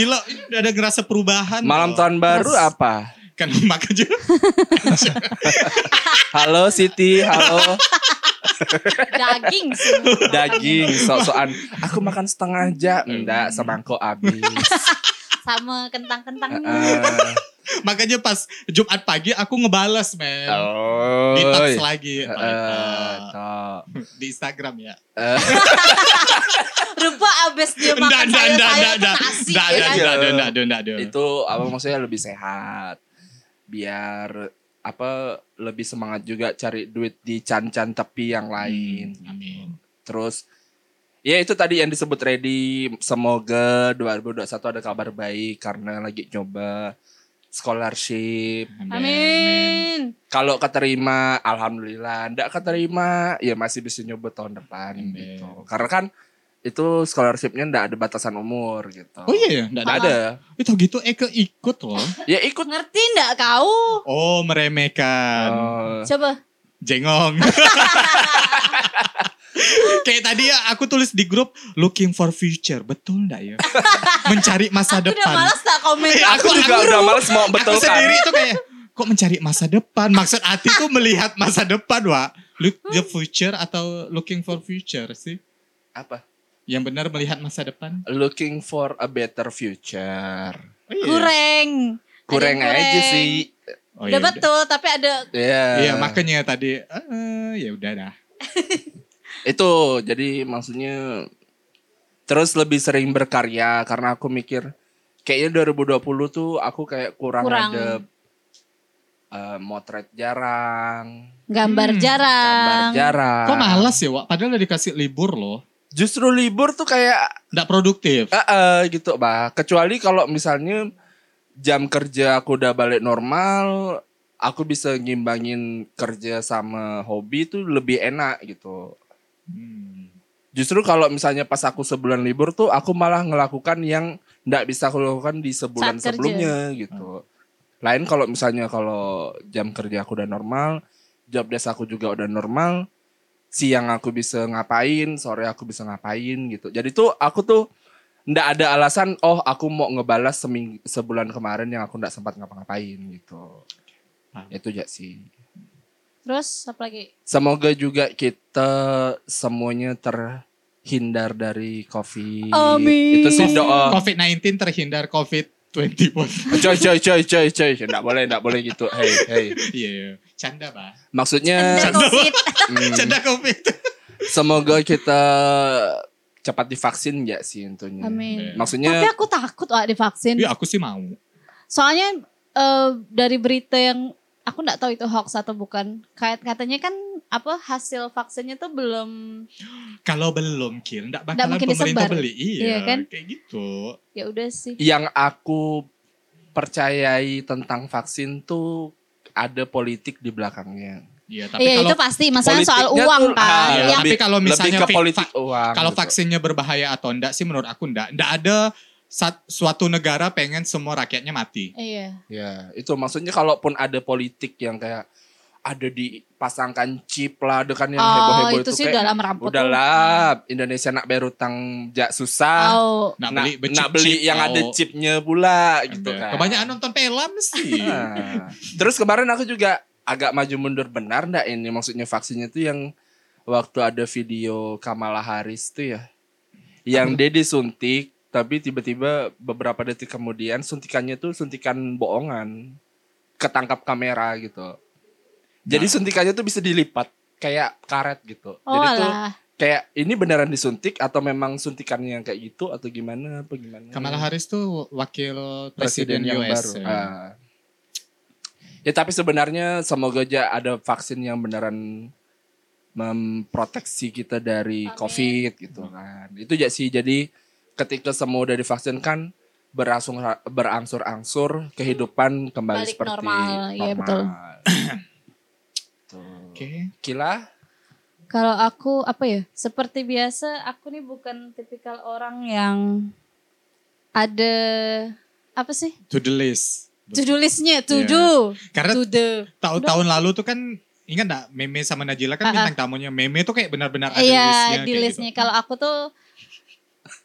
[SPEAKER 1] Gila, ini udah ada ngerasa perubahan.
[SPEAKER 3] malam
[SPEAKER 1] loh.
[SPEAKER 3] tahun baru apa
[SPEAKER 1] Kan [LAUGHS] makan aja.
[SPEAKER 3] Halo Siti, halo
[SPEAKER 2] Daging sih.
[SPEAKER 3] daging sok-sokan. Aku makan setengah aja, enggak semangkok habis. Eh,
[SPEAKER 2] Sama
[SPEAKER 1] Eh,
[SPEAKER 2] kentang-kentang.
[SPEAKER 3] Heeh.
[SPEAKER 1] Makanya pas Jumat pagi aku ngebales, men.
[SPEAKER 3] Oh. eh,
[SPEAKER 1] Detox lagi. Ah.
[SPEAKER 3] Heeh, tok.
[SPEAKER 1] Di Instagram ya.
[SPEAKER 2] Rupa abis dia Ya, makan
[SPEAKER 1] Enggak, enggak,
[SPEAKER 2] sayur-sayur
[SPEAKER 1] enggak, enggak,
[SPEAKER 2] tuh
[SPEAKER 1] enggak.
[SPEAKER 2] nasi.
[SPEAKER 1] Enggak, enggak, enggak,
[SPEAKER 2] kan?
[SPEAKER 1] enggak, enggak, enggak, enggak, enggak.
[SPEAKER 3] Itu apa maksudnya lebih sehat. Biar apa lebih semangat juga cari duit di can-can tepi yang lain.
[SPEAKER 1] Amin.
[SPEAKER 3] Terus Ya itu tadi yang disebut ready. Semoga 2021 ada kabar baik karena lagi coba scholarship.
[SPEAKER 2] Amin.
[SPEAKER 3] kalau keterima alhamdulillah ndak keterima ya masih bisa nyoba tahun depan
[SPEAKER 1] Amin.
[SPEAKER 3] gitu karena kan itu scholarshipnya ndak ada batasan umur gitu
[SPEAKER 1] Oh iya, ya? enggak
[SPEAKER 3] ndak
[SPEAKER 1] ada.
[SPEAKER 3] ada
[SPEAKER 1] Itu gitu Eke ikut loh.
[SPEAKER 3] ya ikut
[SPEAKER 2] Ngerti enggak kau?
[SPEAKER 1] Oh, meremehkan.
[SPEAKER 3] Oh.
[SPEAKER 2] Coba.
[SPEAKER 1] Jengong. [LAUGHS] Kayak tadi ya aku tulis di grup looking for future, betul enggak
[SPEAKER 2] [LAUGHS]
[SPEAKER 1] ya? Mencari masa
[SPEAKER 2] Aku udah
[SPEAKER 1] depan.
[SPEAKER 2] malas tak komen.
[SPEAKER 1] Eh,
[SPEAKER 3] aku
[SPEAKER 1] aku-
[SPEAKER 3] juga
[SPEAKER 1] aku-
[SPEAKER 3] udah males mau
[SPEAKER 1] aku
[SPEAKER 3] betul kan
[SPEAKER 1] sendiri tuh kayak kok mencari masa depan? Maksud hati tuh melihat masa depan, Wak. Look the future atau looking for future sih?
[SPEAKER 3] apa
[SPEAKER 1] Yang benar melihat masa depan.
[SPEAKER 3] looking for a better future
[SPEAKER 1] Oh, iya.
[SPEAKER 2] Kurang.
[SPEAKER 3] kurang
[SPEAKER 2] Ada yang
[SPEAKER 3] aja
[SPEAKER 2] kurang.
[SPEAKER 3] sih
[SPEAKER 1] Oh, iya,
[SPEAKER 2] Udah betul, tapi ada
[SPEAKER 3] ya
[SPEAKER 1] Iya, makanya tadi eh, ya udah dah.
[SPEAKER 3] itu jadi maksudnya terus lebih sering berkarya karena aku mikir kayaknya 2020 tuh aku kayak kurang,
[SPEAKER 2] Kurang.
[SPEAKER 3] ada eh, motret jarang,
[SPEAKER 2] gambar
[SPEAKER 1] Hmm.
[SPEAKER 2] jarang.
[SPEAKER 3] gambar jarang.
[SPEAKER 1] Kok malas ya, Wak? Padahal udah dikasih libur loh.
[SPEAKER 3] Justru libur tuh kayak
[SPEAKER 1] Enggak produktif.
[SPEAKER 3] eh, eh, gitu bah. Kecuali kalau misalnya jam kerja aku udah balik normal, aku bisa ngimbangin kerja sama hobi tuh lebih enak gitu.
[SPEAKER 1] Hmm.
[SPEAKER 3] Justru kalau misalnya pas aku sebulan libur tuh aku malah ngelakukan yang nggak bisa aku lakukan di sebulan
[SPEAKER 2] Saat kerja.
[SPEAKER 3] sebelumnya gitu. Lain kalau misalnya kalau jam kerja aku udah normal, job desk aku juga udah normal, siang aku bisa ngapain, sore aku bisa ngapain gitu. Jadi tuh aku tuh ndak ada alasan oh aku mau ngebalas seming sebulan kemarin yang aku ndak sempat ngapa-ngapain gitu.
[SPEAKER 1] Paham.
[SPEAKER 3] Itu aja sih.
[SPEAKER 2] Terus apa lagi?
[SPEAKER 3] Semoga juga kita semuanya terhindar dari COVID.
[SPEAKER 2] Amin.
[SPEAKER 3] Itu sih
[SPEAKER 1] Oh.
[SPEAKER 3] doa.
[SPEAKER 1] COVID-19 terhindar COVID-20 pun. [LAUGHS]
[SPEAKER 3] Coy, coy, coy, coy, coy. Nggak boleh, nggak boleh gitu. Hey, hey.
[SPEAKER 1] Iya, iya. canda bah.
[SPEAKER 3] Maksudnya,
[SPEAKER 2] Anda
[SPEAKER 3] [LAUGHS]
[SPEAKER 2] covid.
[SPEAKER 3] hmm,
[SPEAKER 1] Canda COVID.
[SPEAKER 3] semoga kita cepat divaksin ya sih intinya.
[SPEAKER 2] Amin. Tapi
[SPEAKER 3] Maksudnya,
[SPEAKER 2] aku takut Wak divaksin.
[SPEAKER 1] Iya aku sih mau.
[SPEAKER 2] Soalnya eh, dari berita yang aku nggak tahu itu hoax atau bukan. Kayak katanya kan apa hasil vaksinnya tuh belum
[SPEAKER 1] Kalau belum kill, enggak bakalan
[SPEAKER 2] mungkin
[SPEAKER 1] pemerintah
[SPEAKER 2] disebar.
[SPEAKER 1] beli. Iya,
[SPEAKER 2] Iya kan?
[SPEAKER 1] kayak gitu.
[SPEAKER 2] ya udah sih.
[SPEAKER 3] yang aku percayai tentang vaksin tuh ada politik di belakangnya.
[SPEAKER 1] Iya, tapi
[SPEAKER 2] Iya
[SPEAKER 1] kalau
[SPEAKER 2] itu pasti masalah soal
[SPEAKER 3] Politiknya
[SPEAKER 2] uang
[SPEAKER 3] tuh, ah,
[SPEAKER 2] kan.
[SPEAKER 1] Iya,
[SPEAKER 2] yang
[SPEAKER 1] tapi kalau misalnya
[SPEAKER 3] lebih ke
[SPEAKER 1] vi-
[SPEAKER 3] politik
[SPEAKER 1] va-
[SPEAKER 3] uang.
[SPEAKER 1] kalau
[SPEAKER 3] gitu.
[SPEAKER 1] vaksinnya berbahaya atau enggak sih menurut aku enggak. Enggak ada sat- suatu negara pengen semua rakyatnya mati.
[SPEAKER 2] Iya.
[SPEAKER 3] Ya, itu maksudnya kalaupun ada politik yang kayak ada dipasangkan chip lah, ada kan
[SPEAKER 2] Oh,
[SPEAKER 3] yang
[SPEAKER 2] itu,
[SPEAKER 3] heboh-heboh itu,
[SPEAKER 2] sih
[SPEAKER 3] kayak
[SPEAKER 2] dalam rampok.
[SPEAKER 3] udahlah Indonesia nak berutang jak susah.
[SPEAKER 2] Hmm. Oh,
[SPEAKER 1] Nak
[SPEAKER 3] nak
[SPEAKER 1] beli
[SPEAKER 3] beli,
[SPEAKER 1] becip-cip
[SPEAKER 3] beli yang
[SPEAKER 1] tau.
[SPEAKER 3] ada chipnya pula gitu
[SPEAKER 1] Ada.
[SPEAKER 3] kan.
[SPEAKER 1] Kebanyakan nonton film sih.
[SPEAKER 3] [LAUGHS] Nah, Terus kemarin aku juga agak maju mundur benar ndak ini maksudnya vaksinnya tuh yang waktu ada video Kamala Harris tuh ya. Yang dia disuntik tapi tiba-tiba beberapa detik kemudian suntikannya tuh suntikan bohongan. Ketangkap kamera gitu. Jadi
[SPEAKER 1] Nah.
[SPEAKER 3] suntikannya tuh bisa dilipat kayak karet gitu.
[SPEAKER 2] oh
[SPEAKER 3] Jadi tuh
[SPEAKER 2] alah.
[SPEAKER 3] kayak ini beneran disuntik atau memang suntikannya yang kayak gitu atau gimana apa gimana.
[SPEAKER 1] Kamala Harris tuh wakil presiden,
[SPEAKER 3] presiden yang
[SPEAKER 1] US.
[SPEAKER 3] baru.
[SPEAKER 1] ya.
[SPEAKER 3] Ah. Ya tapi sebenarnya semoga aja ada vaksin yang beneran memproteksi kita dari
[SPEAKER 2] Amin.
[SPEAKER 3] COVID gitu kan. Itu aja sih. Jadi ketika semua udah divaksin kan berasung berangsur-angsur kehidupan kembali
[SPEAKER 2] Balik
[SPEAKER 3] seperti
[SPEAKER 2] normal. Iya, betul.
[SPEAKER 3] Tuh.
[SPEAKER 1] Oke.
[SPEAKER 3] Kila?
[SPEAKER 2] Kalau aku apa ya? Seperti biasa, aku nih bukan tipikal orang yang ada apa sih?
[SPEAKER 1] To the list.
[SPEAKER 2] To do listnya, to
[SPEAKER 1] Iya.
[SPEAKER 2] do,
[SPEAKER 1] Karena
[SPEAKER 2] to the.
[SPEAKER 3] Nah.
[SPEAKER 1] tahun tahun lalu tuh kan ingat gak Meme sama Najila kan
[SPEAKER 2] Ah, ah.
[SPEAKER 1] bintang tamunya. Meme tuh kayak benar-benar ada listnya.
[SPEAKER 2] Iya, di
[SPEAKER 1] kayak
[SPEAKER 2] listnya.
[SPEAKER 1] gitu.
[SPEAKER 2] Kalau aku tuh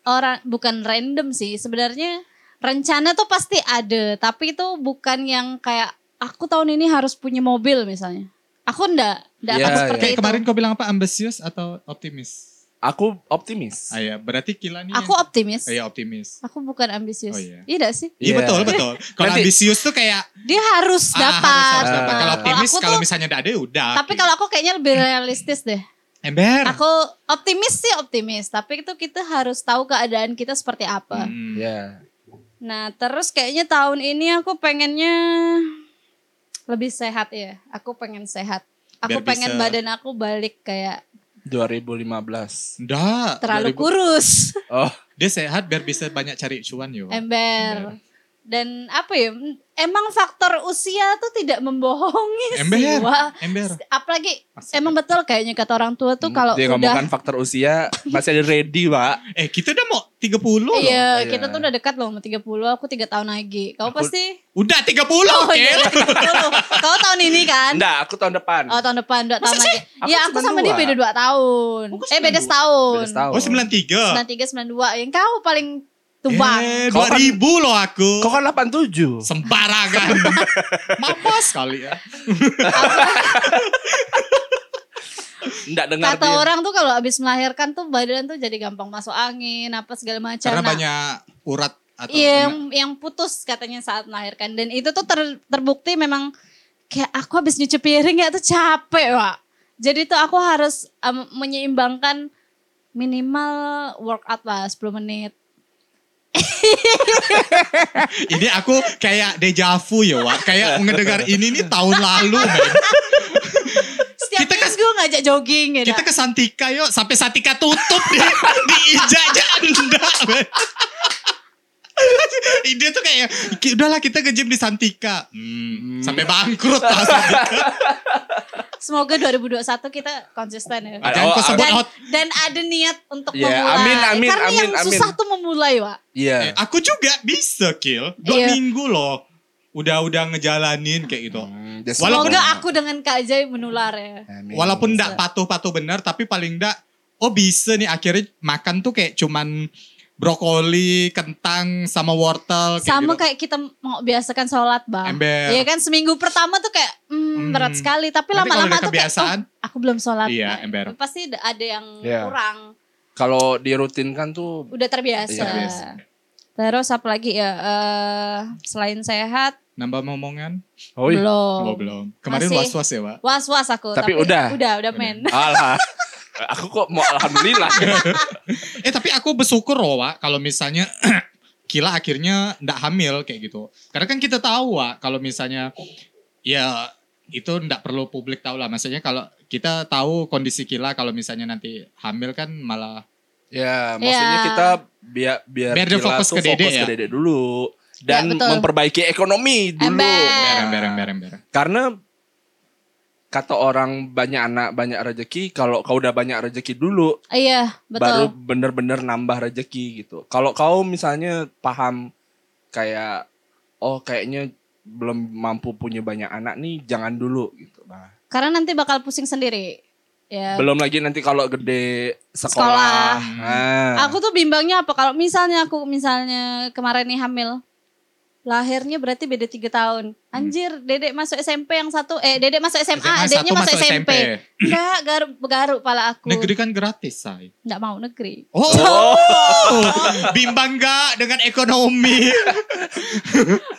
[SPEAKER 2] orang bukan random sih. Sebenarnya rencana tuh pasti ada, tapi itu bukan yang kayak aku tahun ini harus punya mobil misalnya. Aku ndak, ndak
[SPEAKER 3] Iya,
[SPEAKER 2] akan
[SPEAKER 3] iya.
[SPEAKER 2] seperti
[SPEAKER 1] Kayak
[SPEAKER 2] itu.
[SPEAKER 1] kemarin kau bilang apa? Ambisius atau optimis?
[SPEAKER 3] Aku optimis.
[SPEAKER 1] Ah, iya. berarti Kila nih.
[SPEAKER 2] Aku optimis.
[SPEAKER 1] Iya optimis.
[SPEAKER 2] Aku bukan ambisius.
[SPEAKER 1] Oh, iya.
[SPEAKER 2] Iya ndak sih?
[SPEAKER 1] Iya
[SPEAKER 3] Iya.
[SPEAKER 1] betul betul. Kalau
[SPEAKER 3] Nanti-
[SPEAKER 1] ambisius tuh kayak
[SPEAKER 2] Dia harus
[SPEAKER 1] ah,
[SPEAKER 2] dapat.
[SPEAKER 1] harus- harus dapat.
[SPEAKER 2] Nah,
[SPEAKER 1] Kalau optimis
[SPEAKER 2] aku
[SPEAKER 1] kalau
[SPEAKER 2] tuh-
[SPEAKER 1] misalnya enggak ada ya udah.
[SPEAKER 2] tapi kalau aku kayaknya lebih realistis deh.
[SPEAKER 1] ember.
[SPEAKER 2] Aku optimis sih optimis, tapi itu kita harus tahu keadaan kita seperti apa.
[SPEAKER 1] Hmm.
[SPEAKER 3] Ya.
[SPEAKER 2] Nah, terus kayaknya tahun ini aku pengennya lebih sehat ya. Aku pengen sehat. Aku
[SPEAKER 1] Biar
[SPEAKER 2] pengen
[SPEAKER 1] bisa-
[SPEAKER 2] badan aku balik kayak
[SPEAKER 3] 2015.
[SPEAKER 1] Nggak,
[SPEAKER 2] terlalu
[SPEAKER 1] 2000.
[SPEAKER 2] kurus,
[SPEAKER 3] Oh,
[SPEAKER 1] Dia sehat biar bisa banyak cari cuan yo.
[SPEAKER 2] ember. Dan apa ya? Emang faktor usia tuh tidak membohongi sih.
[SPEAKER 1] Ember.
[SPEAKER 2] Wak.
[SPEAKER 1] Ember.
[SPEAKER 2] Apalagi emang betul kayaknya kata orang tua tuh
[SPEAKER 1] Hmm,
[SPEAKER 2] kalau
[SPEAKER 3] dia
[SPEAKER 1] kan
[SPEAKER 2] udah
[SPEAKER 3] ngomongkan faktor usia masih ada ready, Pak.
[SPEAKER 1] Eh kita udah mau 30 loh.
[SPEAKER 2] Iya,
[SPEAKER 3] Iya.
[SPEAKER 2] kita tuh udah dekat loh sama 30, aku 3 tahun lagi. Kau
[SPEAKER 3] Aku-
[SPEAKER 2] pasti
[SPEAKER 3] [LAUGHS]
[SPEAKER 1] Udah 30
[SPEAKER 2] Oh
[SPEAKER 1] Kel.
[SPEAKER 2] iya, 30. Kau tahun ini kan?
[SPEAKER 3] Enggak, aku tahun depan.
[SPEAKER 2] Oh tahun depan, 2 tahun lagi.
[SPEAKER 3] Aku
[SPEAKER 2] Iya, aku sama
[SPEAKER 3] 92.
[SPEAKER 2] dia beda 2 tahun.
[SPEAKER 1] Oh, kau
[SPEAKER 2] Eh,
[SPEAKER 1] 92.
[SPEAKER 2] beda setahun.
[SPEAKER 3] Beda setahun.
[SPEAKER 1] Oh 93.
[SPEAKER 2] 93, 92. Yang kau paling tumbang.
[SPEAKER 1] Eh,
[SPEAKER 3] Kau kan-
[SPEAKER 1] 2000 loh aku.
[SPEAKER 3] Kau kan 87.
[SPEAKER 1] Sembarangan. Mampus kali ya.
[SPEAKER 3] Enggak dengar
[SPEAKER 2] Kata
[SPEAKER 3] dia.
[SPEAKER 2] orang tuh kalau habis melahirkan tuh badan tuh jadi gampang masuk angin, apa segala macam.
[SPEAKER 1] Karena
[SPEAKER 2] Nah,
[SPEAKER 1] banyak urat atau
[SPEAKER 2] Iya, yang, yang putus katanya saat melahirkan dan itu tuh ter- terbukti memang kayak aku habis nyuci piring ya tuh capek, Wak. Jadi tuh aku harus em, menyeimbangkan minimal workout lah 10 menit.
[SPEAKER 1] Ini aku kayak dejavu ya, Wak. Kayak ngedengar ini nih tahun lalu, men.
[SPEAKER 2] Setiap
[SPEAKER 1] Kita kan-
[SPEAKER 2] minggu ngajak jogging gitu.
[SPEAKER 1] Kita ke Santika yuk, sampai Santika tutup di diijak-ijak enggak, men. [LAUGHS] Ide tuh kayak "Ki, udahlah kita ke gym di Santika. Hmm, sampai bangkrut lah Santika.
[SPEAKER 2] Semoga 2021 kita konsisten ya.
[SPEAKER 3] Amin.
[SPEAKER 1] Jangan
[SPEAKER 3] Oh,
[SPEAKER 1] kau sebut
[SPEAKER 2] Dan,
[SPEAKER 1] out.
[SPEAKER 2] dan ada niat untuk
[SPEAKER 3] Ya,
[SPEAKER 2] memulai.
[SPEAKER 3] amin, amin,
[SPEAKER 2] Karena
[SPEAKER 3] amin,
[SPEAKER 2] yang susah tuh memulai, Pak.
[SPEAKER 1] Eh,
[SPEAKER 3] Iya.
[SPEAKER 1] Aku juga bisa kill. Dua
[SPEAKER 2] Iya.
[SPEAKER 1] minggu loh. Udah-udah ngejalanin kayak gitu.
[SPEAKER 3] Hmm, that's
[SPEAKER 1] Walaupun-
[SPEAKER 2] Semoga
[SPEAKER 3] all.
[SPEAKER 2] aku dengan Kak Jai menular ya.
[SPEAKER 3] Amin.
[SPEAKER 1] Walaupun enggak patuh-patuh benar tapi paling enggak oh bisa nih akhirnya makan tuh kayak cuman brokoli, kentang sama wortel kayak
[SPEAKER 2] Sama
[SPEAKER 1] gitu.
[SPEAKER 2] kayak kita mau biasakan sholat, Bang.
[SPEAKER 1] ember.
[SPEAKER 2] Iya kan seminggu pertama tuh kayak hmm,
[SPEAKER 1] Hmm.
[SPEAKER 2] berat sekali, tapi
[SPEAKER 1] Nanti kalau
[SPEAKER 2] lama-lama
[SPEAKER 1] udah
[SPEAKER 2] tuh kayak "Oh,
[SPEAKER 1] kebiasaan,
[SPEAKER 2] aku belum sholat.
[SPEAKER 1] Iya,
[SPEAKER 2] Nah,
[SPEAKER 1] ember.
[SPEAKER 2] Pasti ada- ada yang
[SPEAKER 3] Iya.
[SPEAKER 2] kurang.
[SPEAKER 3] kalau dirutinkan tuh
[SPEAKER 2] Udah terbiasa.
[SPEAKER 3] Iya, terbiasa.
[SPEAKER 2] Terus apa lagi ya? eh, selain sehat,
[SPEAKER 1] nambah omongan.
[SPEAKER 3] oh iya.
[SPEAKER 1] Oh,
[SPEAKER 2] belum.
[SPEAKER 1] belum. Kemarin
[SPEAKER 2] Masih.
[SPEAKER 1] was-was ya, Pak.
[SPEAKER 2] Was-was aku.
[SPEAKER 3] Tapi udah.
[SPEAKER 2] Udah, udah men.
[SPEAKER 3] Alah. Aku kok mau
[SPEAKER 1] [LAUGHS]
[SPEAKER 3] alhamdulillah.
[SPEAKER 1] Eh tapi aku bersyukur loh Wak kalau misalnya [CLEARS THROAT] Kila akhirnya ndak hamil kayak gitu. Karena kan kita tahu Wak kalau misalnya ya itu ndak perlu publik tahu lah. Maksudnya kalau kita tahu kondisi Kila kalau misalnya nanti hamil kan malah
[SPEAKER 3] ya, maksudnya
[SPEAKER 2] Iya.
[SPEAKER 3] kita biar biar,
[SPEAKER 1] Biar dia
[SPEAKER 3] Gila
[SPEAKER 1] fokus
[SPEAKER 3] tuh
[SPEAKER 1] ke Dede
[SPEAKER 3] fokus
[SPEAKER 1] ya?
[SPEAKER 3] ke Dede dulu
[SPEAKER 2] Ya,
[SPEAKER 3] dan
[SPEAKER 2] betul.
[SPEAKER 3] memperbaiki ekonomi dulu.
[SPEAKER 2] Ember.
[SPEAKER 1] ember ember ember.
[SPEAKER 3] Karena kata orang banyak anak banyak rezeki kalau kau udah banyak rezeki dulu
[SPEAKER 2] Iya,
[SPEAKER 3] baru
[SPEAKER 2] betul.
[SPEAKER 3] bener-bener nambah rezeki gitu. Kalau kau misalnya paham kayak oh kayaknya belum mampu punya banyak anak nih jangan dulu gitu. Nah,
[SPEAKER 2] Karena nanti bakal pusing sendiri. Ya.
[SPEAKER 3] belum lagi nanti kalau gede
[SPEAKER 2] Sekolah.
[SPEAKER 3] sekolah. Nah,
[SPEAKER 2] Aku tuh bimbangnya apa kalau misalnya aku misalnya kemarin nih hamil. Lahirnya berarti beda 3 tahun. Anjir, Dedek masuk SMP yang satu eh Dedek masuk SMA, adeknya masuk, SMP. Enggak, garuk garuk pala aku.
[SPEAKER 1] Negeri kan gratis, say.
[SPEAKER 2] Enggak mau negeri.
[SPEAKER 1] Oh, bimbang gak dengan
[SPEAKER 2] [LAUGHS]
[SPEAKER 1] ekonomi?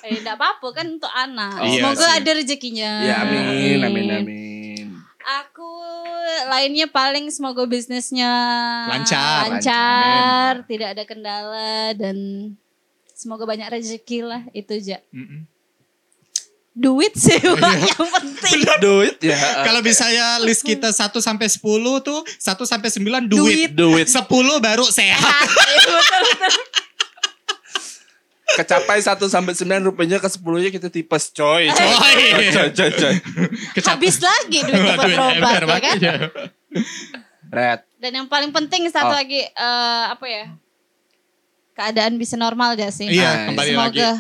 [SPEAKER 2] Eh, enggak apa-apa kan untuk anak.
[SPEAKER 1] Iya
[SPEAKER 2] Semoga
[SPEAKER 1] sih.
[SPEAKER 2] ada rezekinya.
[SPEAKER 3] ya amin amin amin.
[SPEAKER 2] Aku lainnya paling semoga bisnisnya
[SPEAKER 1] Lancar.
[SPEAKER 2] lancar, tidak ada kendala dan semoga banyak rezeki lah itu aja.
[SPEAKER 1] Mm-mm.
[SPEAKER 2] Duit
[SPEAKER 1] [LAUGHS]
[SPEAKER 2] sih Wak,
[SPEAKER 1] Iya.
[SPEAKER 2] yang penting.
[SPEAKER 3] Duit ya.
[SPEAKER 1] Kalau misalnya list kita 1 sampai 10 tuh 1 sampai 9 duit.
[SPEAKER 2] Duit.
[SPEAKER 3] duit
[SPEAKER 1] 10 baru sehat.
[SPEAKER 2] Ah, iya, betul, betul.
[SPEAKER 3] kecapai 1 sampai 9 rupanya ke 10-nya kita
[SPEAKER 2] Eh.
[SPEAKER 3] tipes coy. Coy
[SPEAKER 1] Coy.
[SPEAKER 3] coy coy. coy.
[SPEAKER 1] [LAUGHS] Kecap-
[SPEAKER 2] Habis lagi duit buat
[SPEAKER 1] Duit
[SPEAKER 2] berobat
[SPEAKER 1] ember, Iya.
[SPEAKER 2] ya kan.
[SPEAKER 1] makanya.
[SPEAKER 3] Red.
[SPEAKER 2] Dan yang paling penting satu
[SPEAKER 3] Oh.
[SPEAKER 2] lagi eh, apa ya? Keadaan bisa normal gak sih? Ah,
[SPEAKER 1] Iya,
[SPEAKER 3] Nice.
[SPEAKER 1] kembali lagi.
[SPEAKER 2] Semoga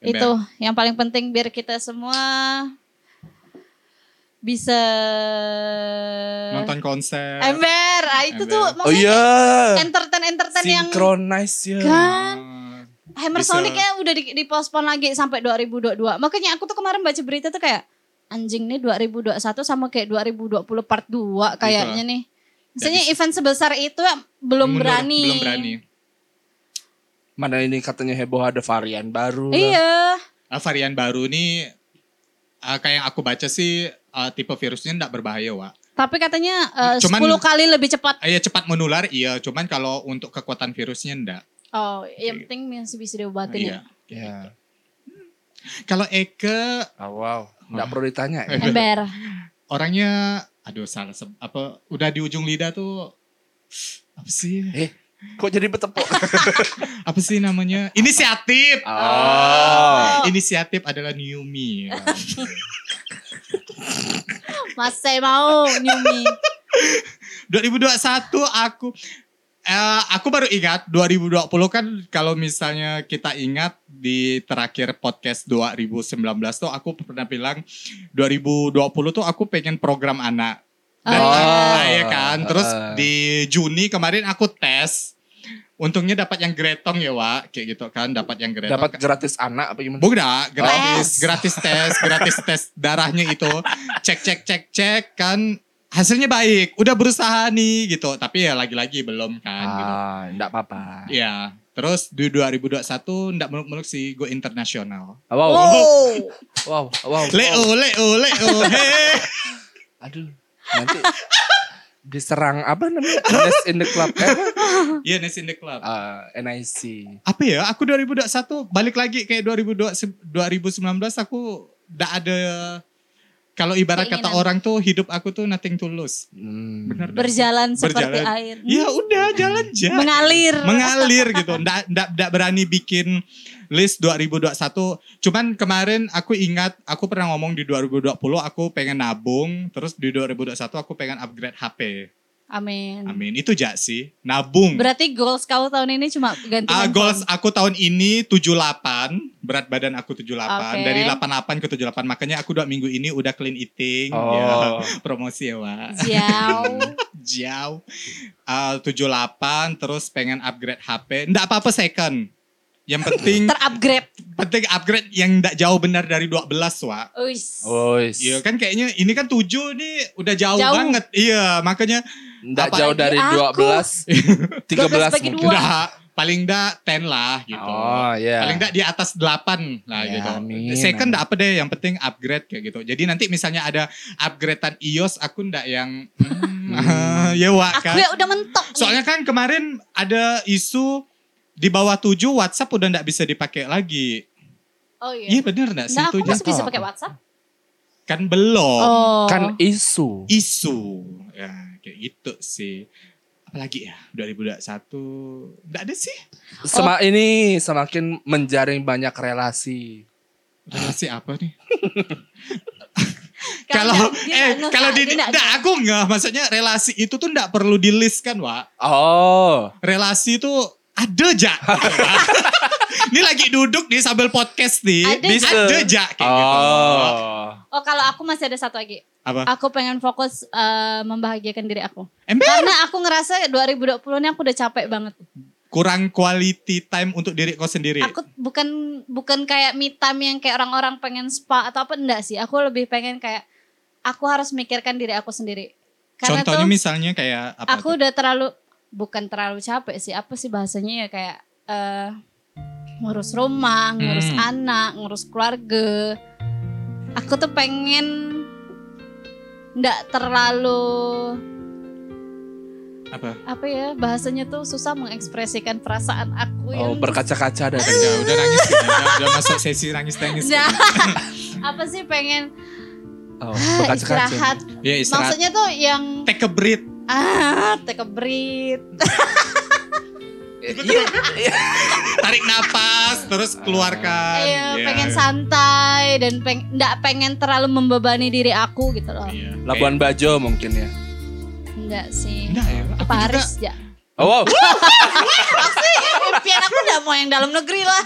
[SPEAKER 1] Ember.
[SPEAKER 2] itu yang paling penting biar kita semua bisa
[SPEAKER 1] Nonton konser.
[SPEAKER 2] ember. Ah, itu
[SPEAKER 1] Ember.
[SPEAKER 2] tuh
[SPEAKER 3] Oh
[SPEAKER 2] maksudnya
[SPEAKER 3] iya.
[SPEAKER 2] entertain entertain yang
[SPEAKER 3] Synchronize ya.
[SPEAKER 2] kan Hammer
[SPEAKER 1] Bisa.
[SPEAKER 2] Sonic kan udah di, dipospon lagi sampai 2022. Makanya aku tuh kemarin baca berita tuh kayak anjing nih 2021 sama kayak 2020 part
[SPEAKER 1] Iya.
[SPEAKER 2] 2 kayaknya nih. Maksudnya event sebesar itu ya belum
[SPEAKER 1] Mundur,
[SPEAKER 2] berani.
[SPEAKER 1] Belum berani.
[SPEAKER 3] Mana ini katanya heboh ada varian baru. lah.
[SPEAKER 2] Iya.
[SPEAKER 1] Ah, varian baru nih ah, kayak yang aku baca sih ah, tipe virusnya ndak berbahaya, Wak.
[SPEAKER 2] Tapi katanya eh,
[SPEAKER 1] Cuman-
[SPEAKER 2] 10 kali lebih cepat.
[SPEAKER 1] Ah, ya cepat menular iya, cuman kalau untuk kekuatan virusnya ndak.
[SPEAKER 2] Oh, yang penting masih bisa diobatin ya.
[SPEAKER 1] Iya.
[SPEAKER 3] Iya.
[SPEAKER 1] Kalau Eke
[SPEAKER 3] Oh, wow. Nggak perlu ditanya.
[SPEAKER 2] [LAUGHS]
[SPEAKER 3] ya.
[SPEAKER 1] Iya. [LAUGHS]
[SPEAKER 2] Ember.
[SPEAKER 1] orangnya aduh salah se- apa udah di ujung lidah tuh apa sih?
[SPEAKER 3] Eh, kok jadi bertepuk?
[SPEAKER 1] Apa sih namanya? Inisiatif.
[SPEAKER 3] oh.
[SPEAKER 1] Inisiatif adalah new
[SPEAKER 2] [LAUGHS]
[SPEAKER 1] me.
[SPEAKER 2] Masih mau nyumi.
[SPEAKER 1] 2021 aku eh, aku baru ingat 2020 kan kalau misalnya kita ingat di terakhir podcast 2019 tuh aku pernah bilang 2020 tuh aku pengen program anak. Dan
[SPEAKER 2] Oh.
[SPEAKER 1] anak, ya kan. Terus
[SPEAKER 3] Heeh.
[SPEAKER 1] di Juni kemarin aku tes. Untungnya dapat yang gretong ya, Wak. Kayak gitu kan, dapat yang gretong.
[SPEAKER 3] [LAUGHS] Dapat gratis anak apa gimana?
[SPEAKER 1] Bukan dah, gratis,
[SPEAKER 2] Tes.
[SPEAKER 1] gratis tes, gratis tes darahnya itu. Cek cek cek cek kan hasilnya baik. Udah berusaha nih gitu, tapi ya lagi-lagi belum kan gitu.
[SPEAKER 3] Ah, enggak apa-apa.
[SPEAKER 1] Ya, terus di 2021 ndak muluk-muluk sih go internasional.
[SPEAKER 2] Oh.
[SPEAKER 3] Wow, wow,
[SPEAKER 2] Wow.
[SPEAKER 3] wow, wow.
[SPEAKER 1] Leo, Leo, Leo. Hey.
[SPEAKER 3] Aduh, nanti diserang apa namanya? Nest in the club. Eh, apa?
[SPEAKER 1] Iya, next in the club.
[SPEAKER 3] Ah, NIC.
[SPEAKER 1] Apa ya? Aku 2021 balik lagi kayak 2020 2019 aku ndak ada kalau ibarat kata
[SPEAKER 2] Keinginan.
[SPEAKER 1] orang tuh hidup aku tuh nothing to lose.
[SPEAKER 3] Hmm.
[SPEAKER 1] Bener dah.
[SPEAKER 2] Berjalan seperti
[SPEAKER 1] Berjalan. Iya,
[SPEAKER 2] air.
[SPEAKER 1] Ya udah jalan aja.
[SPEAKER 2] Mengalir.
[SPEAKER 1] mengalir gitu ndak ndak ndak berani bikin list 2021. Cuman kemarin aku ingat aku pernah ngomong di 2020 aku pengen nabung, terus di 2021 aku pengen upgrade HP.
[SPEAKER 2] Amin.
[SPEAKER 1] Amin. Itu jak sih. Nabung.
[SPEAKER 2] Berarti goals kau tahun ini cuma ganti
[SPEAKER 1] Ah,
[SPEAKER 2] handphone.
[SPEAKER 1] goals aku tahun ini 78, berat badan aku 78,
[SPEAKER 2] Oke.
[SPEAKER 1] dari 88 ke 78. Makanya aku dua minggu ini udah clean eating, ya. [LAUGHS]
[SPEAKER 3] Oh.
[SPEAKER 1] promosi ya, Wak.
[SPEAKER 2] Jauh.
[SPEAKER 1] Jauh. Ah, 78 terus pengen upgrade HP. Nggak apa-apa second. Yang penting
[SPEAKER 2] Terupgrade.
[SPEAKER 1] penting upgrade yang nggak jauh benar dari 12, Wak.
[SPEAKER 2] Uis.
[SPEAKER 3] Wois.
[SPEAKER 1] Iya kan kayaknya ini kan 7 nih udah jauh,
[SPEAKER 2] Jauh.
[SPEAKER 1] banget. Iya, makanya
[SPEAKER 3] Nggak
[SPEAKER 1] Apalagi
[SPEAKER 3] jauh dari
[SPEAKER 2] aku.
[SPEAKER 3] 12. 13
[SPEAKER 2] bagi Dua.
[SPEAKER 3] mungkin.
[SPEAKER 1] udah paling nggak 10 lah gitu.
[SPEAKER 3] Oh ya.
[SPEAKER 1] Paling enggak di atas 8 lah
[SPEAKER 3] Ya,
[SPEAKER 1] gitu.
[SPEAKER 3] amin,
[SPEAKER 1] Second
[SPEAKER 3] amin.
[SPEAKER 1] enggak apa deh, yang penting upgrade kayak gitu. Jadi nanti misalnya ada upgradean iOS aku enggak yang hmm, [LAUGHS] ya Wak,
[SPEAKER 2] Aku
[SPEAKER 1] kan.
[SPEAKER 2] ya udah mentok nih.
[SPEAKER 1] Soalnya kan kemarin ada isu di bawah 7 WhatsApp udah enggak bisa dipakai lagi.
[SPEAKER 2] Oh
[SPEAKER 1] Iya
[SPEAKER 2] iya.
[SPEAKER 1] bener enggak sih
[SPEAKER 2] Nah, aku
[SPEAKER 1] itu?
[SPEAKER 2] masih
[SPEAKER 1] Jan?
[SPEAKER 2] bisa
[SPEAKER 3] apa?
[SPEAKER 2] pakai WhatsApp.
[SPEAKER 1] Kan belum.
[SPEAKER 2] Oh.
[SPEAKER 3] Kan isu.
[SPEAKER 1] Isu. Ya, kayak gitu sih. Apalagi ya 2021 enggak ada sih.
[SPEAKER 3] Sema ini semakin menjaring banyak relasi.
[SPEAKER 1] Relasi apa nih?
[SPEAKER 2] Karena
[SPEAKER 1] kalau
[SPEAKER 2] dia
[SPEAKER 1] [LAUGHS] eh
[SPEAKER 2] nggak ngeh,
[SPEAKER 1] kalau di
[SPEAKER 2] dia nggak
[SPEAKER 1] nggak, aku nggak maksudnya relasi itu tuh nggak perlu di list kan Wak
[SPEAKER 3] Oh.
[SPEAKER 1] relasi itu ada ja ini lagi duduk nih sambil podcast nih
[SPEAKER 2] Ada,
[SPEAKER 1] bisa
[SPEAKER 3] Ja.
[SPEAKER 1] ada ja kayak gitu
[SPEAKER 3] Oh.
[SPEAKER 2] Oh kalau aku masih ada satu lagi.
[SPEAKER 1] apa
[SPEAKER 2] Aku pengen fokus eh, membahagiakan diri aku.
[SPEAKER 1] ember
[SPEAKER 2] Karena aku ngerasa 2020 ini aku udah capek banget.
[SPEAKER 1] kurang quality time untuk diri kau sendiri
[SPEAKER 2] Aku bukan bukan kayak me time yang kayak orang-orang pengen spa atau apa enggak sih. Aku lebih pengen kayak aku harus mikirkan diri aku sendiri. Karena
[SPEAKER 1] contohnya
[SPEAKER 2] tuh
[SPEAKER 1] misalnya kayak apa
[SPEAKER 2] aku
[SPEAKER 1] tuh?
[SPEAKER 2] udah terlalu bukan terlalu capek sih. Apa sih bahasanya ya kayak eh, ngurus rumah, ngurus
[SPEAKER 1] Hmm.
[SPEAKER 2] anak, ngurus keluarga. Aku tuh pengen ndak terlalu
[SPEAKER 1] apa
[SPEAKER 2] apa ya bahasanya tuh susah mengekspresikan perasaan aku
[SPEAKER 3] Oh,
[SPEAKER 2] yang
[SPEAKER 3] berkaca-kaca dari
[SPEAKER 1] udah udah nangis gitu. udah, udah masuk sesi nangis nangis
[SPEAKER 2] [LAUGHS] Nah, apa sih pengen
[SPEAKER 3] oh,
[SPEAKER 2] ah,
[SPEAKER 3] berkaca-kaca.
[SPEAKER 2] istirahat.
[SPEAKER 1] ya istirahat
[SPEAKER 2] Maksudnya tuh yang
[SPEAKER 1] take a breath
[SPEAKER 2] ah take a breath.
[SPEAKER 3] Iya.
[SPEAKER 1] tarik napas terus keluarkan
[SPEAKER 2] Ayo,
[SPEAKER 1] Ya,
[SPEAKER 2] Iya, pengen
[SPEAKER 1] ya.
[SPEAKER 2] santai dan peng, nggak pengen terlalu membebani diri aku gitu loh.
[SPEAKER 1] Iya.
[SPEAKER 3] Labuan Bajo mungkin ya.
[SPEAKER 2] Enggak sih.
[SPEAKER 1] Enggak ya,
[SPEAKER 2] Ke
[SPEAKER 1] aku juga
[SPEAKER 2] Paris [LAUGHS] ya.
[SPEAKER 3] Oh, wow.
[SPEAKER 2] Impian aku udah mau yang dalam negeri lah.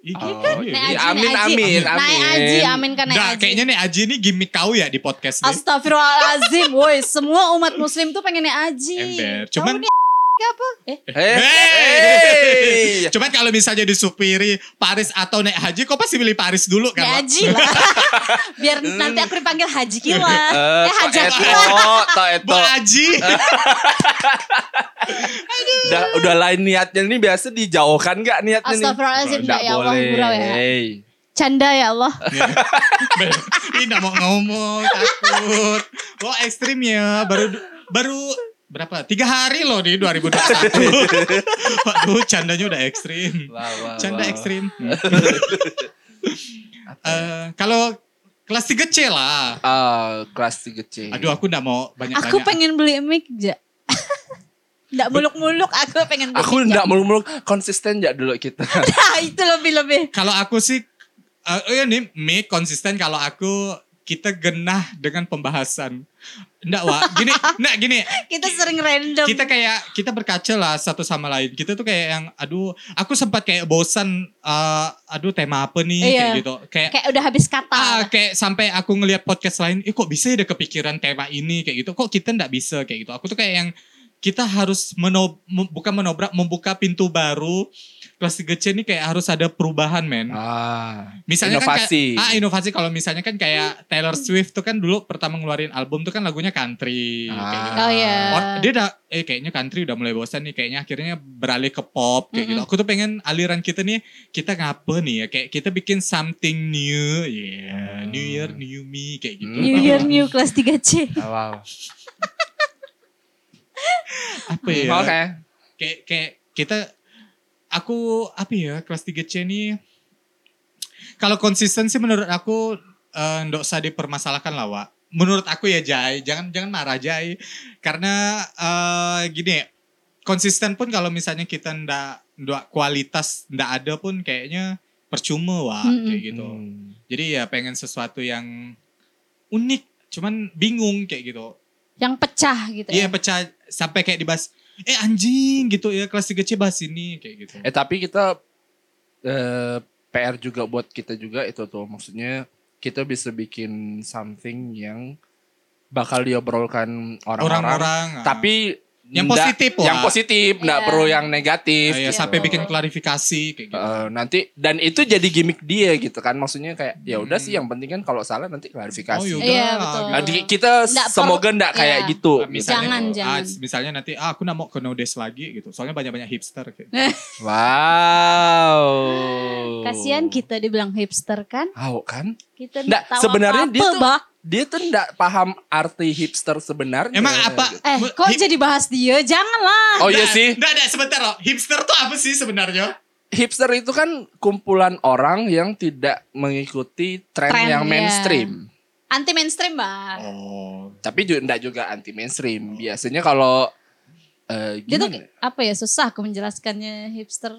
[SPEAKER 1] Iya,
[SPEAKER 3] Oh,
[SPEAKER 1] kan?
[SPEAKER 3] iya.
[SPEAKER 2] Naik haji,
[SPEAKER 3] amin,
[SPEAKER 2] naik haji.
[SPEAKER 3] amin, amin.
[SPEAKER 2] Naik aji, amin kan naik
[SPEAKER 1] Nggak,
[SPEAKER 2] haji.
[SPEAKER 1] kayaknya nih Aji ini gimmick kau ya di podcast nih.
[SPEAKER 2] Astagfirullahalazim, woi semua umat muslim tuh pengen naik haji.
[SPEAKER 1] Ember.
[SPEAKER 2] Tahu
[SPEAKER 1] Cuman-
[SPEAKER 2] nih [LAUGHS] apa? Eh,
[SPEAKER 3] Hey. Eh,
[SPEAKER 1] Hey! Cuman kalau misalnya disupiri Paris atau naik haji, kau pasti pilih Paris dulu kan?
[SPEAKER 2] naik
[SPEAKER 1] Wak?
[SPEAKER 2] Ya, haji lah. [LAUGHS] Biar nanti aku dipanggil Haji Kila.
[SPEAKER 3] Eh,
[SPEAKER 2] eh Haji
[SPEAKER 3] Eto,
[SPEAKER 2] Kila.
[SPEAKER 3] Tok
[SPEAKER 1] Bu
[SPEAKER 3] Eto.
[SPEAKER 1] Haji.
[SPEAKER 3] Udah, udah lain niatnya ini biasa dijauhkan gak niatnya nih?
[SPEAKER 2] Astagfirullahaladzim,
[SPEAKER 3] Nggak
[SPEAKER 2] enggak ya Allah, gurau ya.
[SPEAKER 3] Hey.
[SPEAKER 2] Canda ya Allah.
[SPEAKER 1] [LAUGHS] Ini nggak mau ngomong, takut. Wah ekstrim ya, baru baru berapa? Tiga hari loh di 2021. [LAUGHS] Waduh, candanya udah ekstrim.
[SPEAKER 3] Wah, wah,
[SPEAKER 1] Canda
[SPEAKER 3] wah.
[SPEAKER 1] ekstrim. Eh, kalau kelas 3 C lah.
[SPEAKER 3] Ah, kelas 3 C.
[SPEAKER 1] Aduh, aku nggak mau banyak-banyak.
[SPEAKER 2] Aku pengen beli mic, Ja. [LAUGHS] Nggak muluk-muluk, aku pengen beli
[SPEAKER 3] Aku
[SPEAKER 2] mic, Ja.
[SPEAKER 3] nggak muluk-muluk konsisten ya dulu
[SPEAKER 1] [LAUGHS]
[SPEAKER 3] kita.
[SPEAKER 2] Nah, [LAUGHS] itu lebih-lebih.
[SPEAKER 1] Kalau aku sih, eh oh ya nih, Mie konsisten kalau aku kita genah dengan pembahasan. Enggak, Wak.
[SPEAKER 2] [LAUGHS]
[SPEAKER 1] Gini, enggak gini.
[SPEAKER 2] Kita sering random.
[SPEAKER 1] Kita kayak, kita berkaca lah satu sama lain. Kita tuh kayak yang, aduh, aku sempat kayak bosan, eh, aduh tema apa nih,
[SPEAKER 2] Iya.
[SPEAKER 1] kayak gitu. Kayak,
[SPEAKER 2] Kayak udah habis kata.
[SPEAKER 1] ah, kayak sampai aku ngelihat podcast lain, eh kok bisa ya ada kepikiran tema ini, kayak gitu. Kok kita enggak bisa, kayak gitu. Aku tuh kayak yang, kita harus menob, mem- bukan menobrak, membuka pintu baru. Kelas 3C ini kayak harus ada perubahan, men.
[SPEAKER 3] Ah,
[SPEAKER 1] Misalnya kan
[SPEAKER 3] Inovasi.
[SPEAKER 1] kayak, ah inovasi kalau misalnya kan kayak Taylor Swift tuh kan dulu pertama ngeluarin album tuh kan lagunya country
[SPEAKER 3] Ah.
[SPEAKER 1] kayak gitu.
[SPEAKER 2] Oh iya.
[SPEAKER 1] Or- dia udah eh kayaknya country udah mulai bosan nih kayaknya akhirnya beralih ke pop kayak gitu.
[SPEAKER 2] Mm-mm.
[SPEAKER 1] Aku tuh pengen aliran kita nih kita ngapa nih ya kayak kita bikin something new, yeah, new year new me kayak gitu.
[SPEAKER 2] Ah. New Year New Class 3C.
[SPEAKER 3] Ah, wow.
[SPEAKER 1] Apa
[SPEAKER 3] Oke.
[SPEAKER 1] ya? Kayak kayak kita aku apa ya kelas 3C nih kalau konsistensi menurut aku eh, nggak usah dipermasalahkan lah Wak. Menurut aku ya Jai, jangan jangan marah Jai karena eh, gini konsisten pun kalau misalnya kita ndak ndak kualitas ndak ada pun kayaknya percuma wah
[SPEAKER 2] Mm-mm.
[SPEAKER 1] kayak gitu.
[SPEAKER 3] Mm. Hmm.
[SPEAKER 1] Jadi ya pengen sesuatu yang unik, cuman bingung kayak gitu.
[SPEAKER 2] yang pecah gitu
[SPEAKER 1] Iya
[SPEAKER 2] ya.
[SPEAKER 1] pecah sampai kayak dibahas eh anjing gitu ya kelas 3 C bahas ini kayak gitu.
[SPEAKER 3] Eh tapi kita eh, PR juga buat kita juga itu tuh maksudnya kita bisa bikin something yang bakal diobrolkan orang-orang.
[SPEAKER 1] Orang-orang ah.
[SPEAKER 3] Tapi
[SPEAKER 1] Yang
[SPEAKER 3] ndak-
[SPEAKER 1] positif lah.
[SPEAKER 3] Yang positif, nggak
[SPEAKER 2] Iya.
[SPEAKER 3] perlu yang negatif.
[SPEAKER 1] Ah, ya,
[SPEAKER 3] gitu.
[SPEAKER 1] sampai bikin klarifikasi kayak gitu.
[SPEAKER 3] Eh, nanti dan itu jadi gimmick dia gitu kan maksudnya kayak ya udah
[SPEAKER 1] Hmm.
[SPEAKER 3] sih yang penting kan kalau salah nanti klarifikasi.
[SPEAKER 1] Oh, yaudah
[SPEAKER 2] Iya,
[SPEAKER 1] lah,
[SPEAKER 2] betul.
[SPEAKER 1] gitu.
[SPEAKER 3] Nah, di-
[SPEAKER 2] [LAUGHS]
[SPEAKER 3] kita
[SPEAKER 2] Nggak
[SPEAKER 3] semoga
[SPEAKER 2] perlu-
[SPEAKER 3] nggak kayak
[SPEAKER 2] iya.
[SPEAKER 3] gitu.
[SPEAKER 1] Ah, misalnya,
[SPEAKER 2] Jangan,
[SPEAKER 1] ah,
[SPEAKER 2] jangan.
[SPEAKER 1] misalnya nanti ah, aku nggak mau ke Nodes lagi gitu. Soalnya banyak-banyak hipster kayak. gitu.
[SPEAKER 3] Wow.
[SPEAKER 2] Kasihan kita dibilang hipster kan?
[SPEAKER 3] Tahu kan?
[SPEAKER 2] Kita
[SPEAKER 3] Nggak,
[SPEAKER 2] tahu
[SPEAKER 3] sebenarnya
[SPEAKER 2] apa-apa,
[SPEAKER 3] dia tuh-
[SPEAKER 2] Bah.
[SPEAKER 3] Dia tuh nggak paham arti hipster sebenarnya.
[SPEAKER 1] Emang apa?
[SPEAKER 2] Eh,
[SPEAKER 1] mu-
[SPEAKER 2] kok
[SPEAKER 1] hip-
[SPEAKER 2] jadi bahas dia? Janganlah.
[SPEAKER 3] Iya, Oh iya sih.
[SPEAKER 1] Nggak, nggak, sebentar loh. Hipster tuh apa sih sebenarnya?
[SPEAKER 3] Hipster itu kan kumpulan orang yang tidak mengikuti tren,
[SPEAKER 2] Tren,
[SPEAKER 3] yang
[SPEAKER 2] iya.
[SPEAKER 3] mainstream.
[SPEAKER 2] Anti mainstream, Bah.
[SPEAKER 1] Oh.
[SPEAKER 3] Tapi juga enggak juga anti mainstream. Biasanya kalau eh
[SPEAKER 2] Dia tuh
[SPEAKER 3] gimana?
[SPEAKER 2] apa ya susah aku menjelaskannya hipster.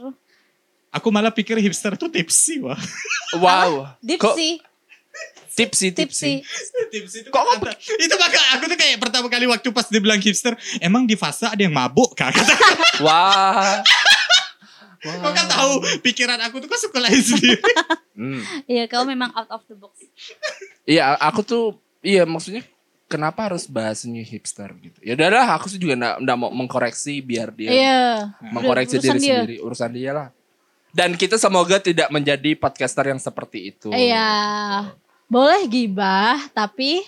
[SPEAKER 1] Aku malah pikir hipster tuh tipsi wah.
[SPEAKER 3] Wow. Kok
[SPEAKER 2] Dipsi,
[SPEAKER 3] tipsy [LAUGHS] tipsy.
[SPEAKER 2] tipsi.
[SPEAKER 1] tipsi itu
[SPEAKER 3] Kok-
[SPEAKER 1] kan antar- Itu maka aku tuh kayak pertama kali waktu pas dibilang hipster, emang di fase ada yang mabuk kak? Kata,
[SPEAKER 3] Wah.
[SPEAKER 1] kok kan tahu pikiran aku tuh kok suka lain sendiri.
[SPEAKER 3] Hmm.
[SPEAKER 2] Iya, kau memang out of the box.
[SPEAKER 3] Iya, aku tuh iya maksudnya kenapa harus bahasanya hipster gitu. Ya udahlah, aku sih juga enggak enggak mau mengkoreksi biar dia
[SPEAKER 2] Iya.
[SPEAKER 3] mengkoreksi
[SPEAKER 2] Urusan
[SPEAKER 3] diri
[SPEAKER 2] dia.
[SPEAKER 3] sendiri, urusan dia lah. Dan kita semoga tidak menjadi podcaster yang seperti itu.
[SPEAKER 2] Iya. Boleh gibah, tapi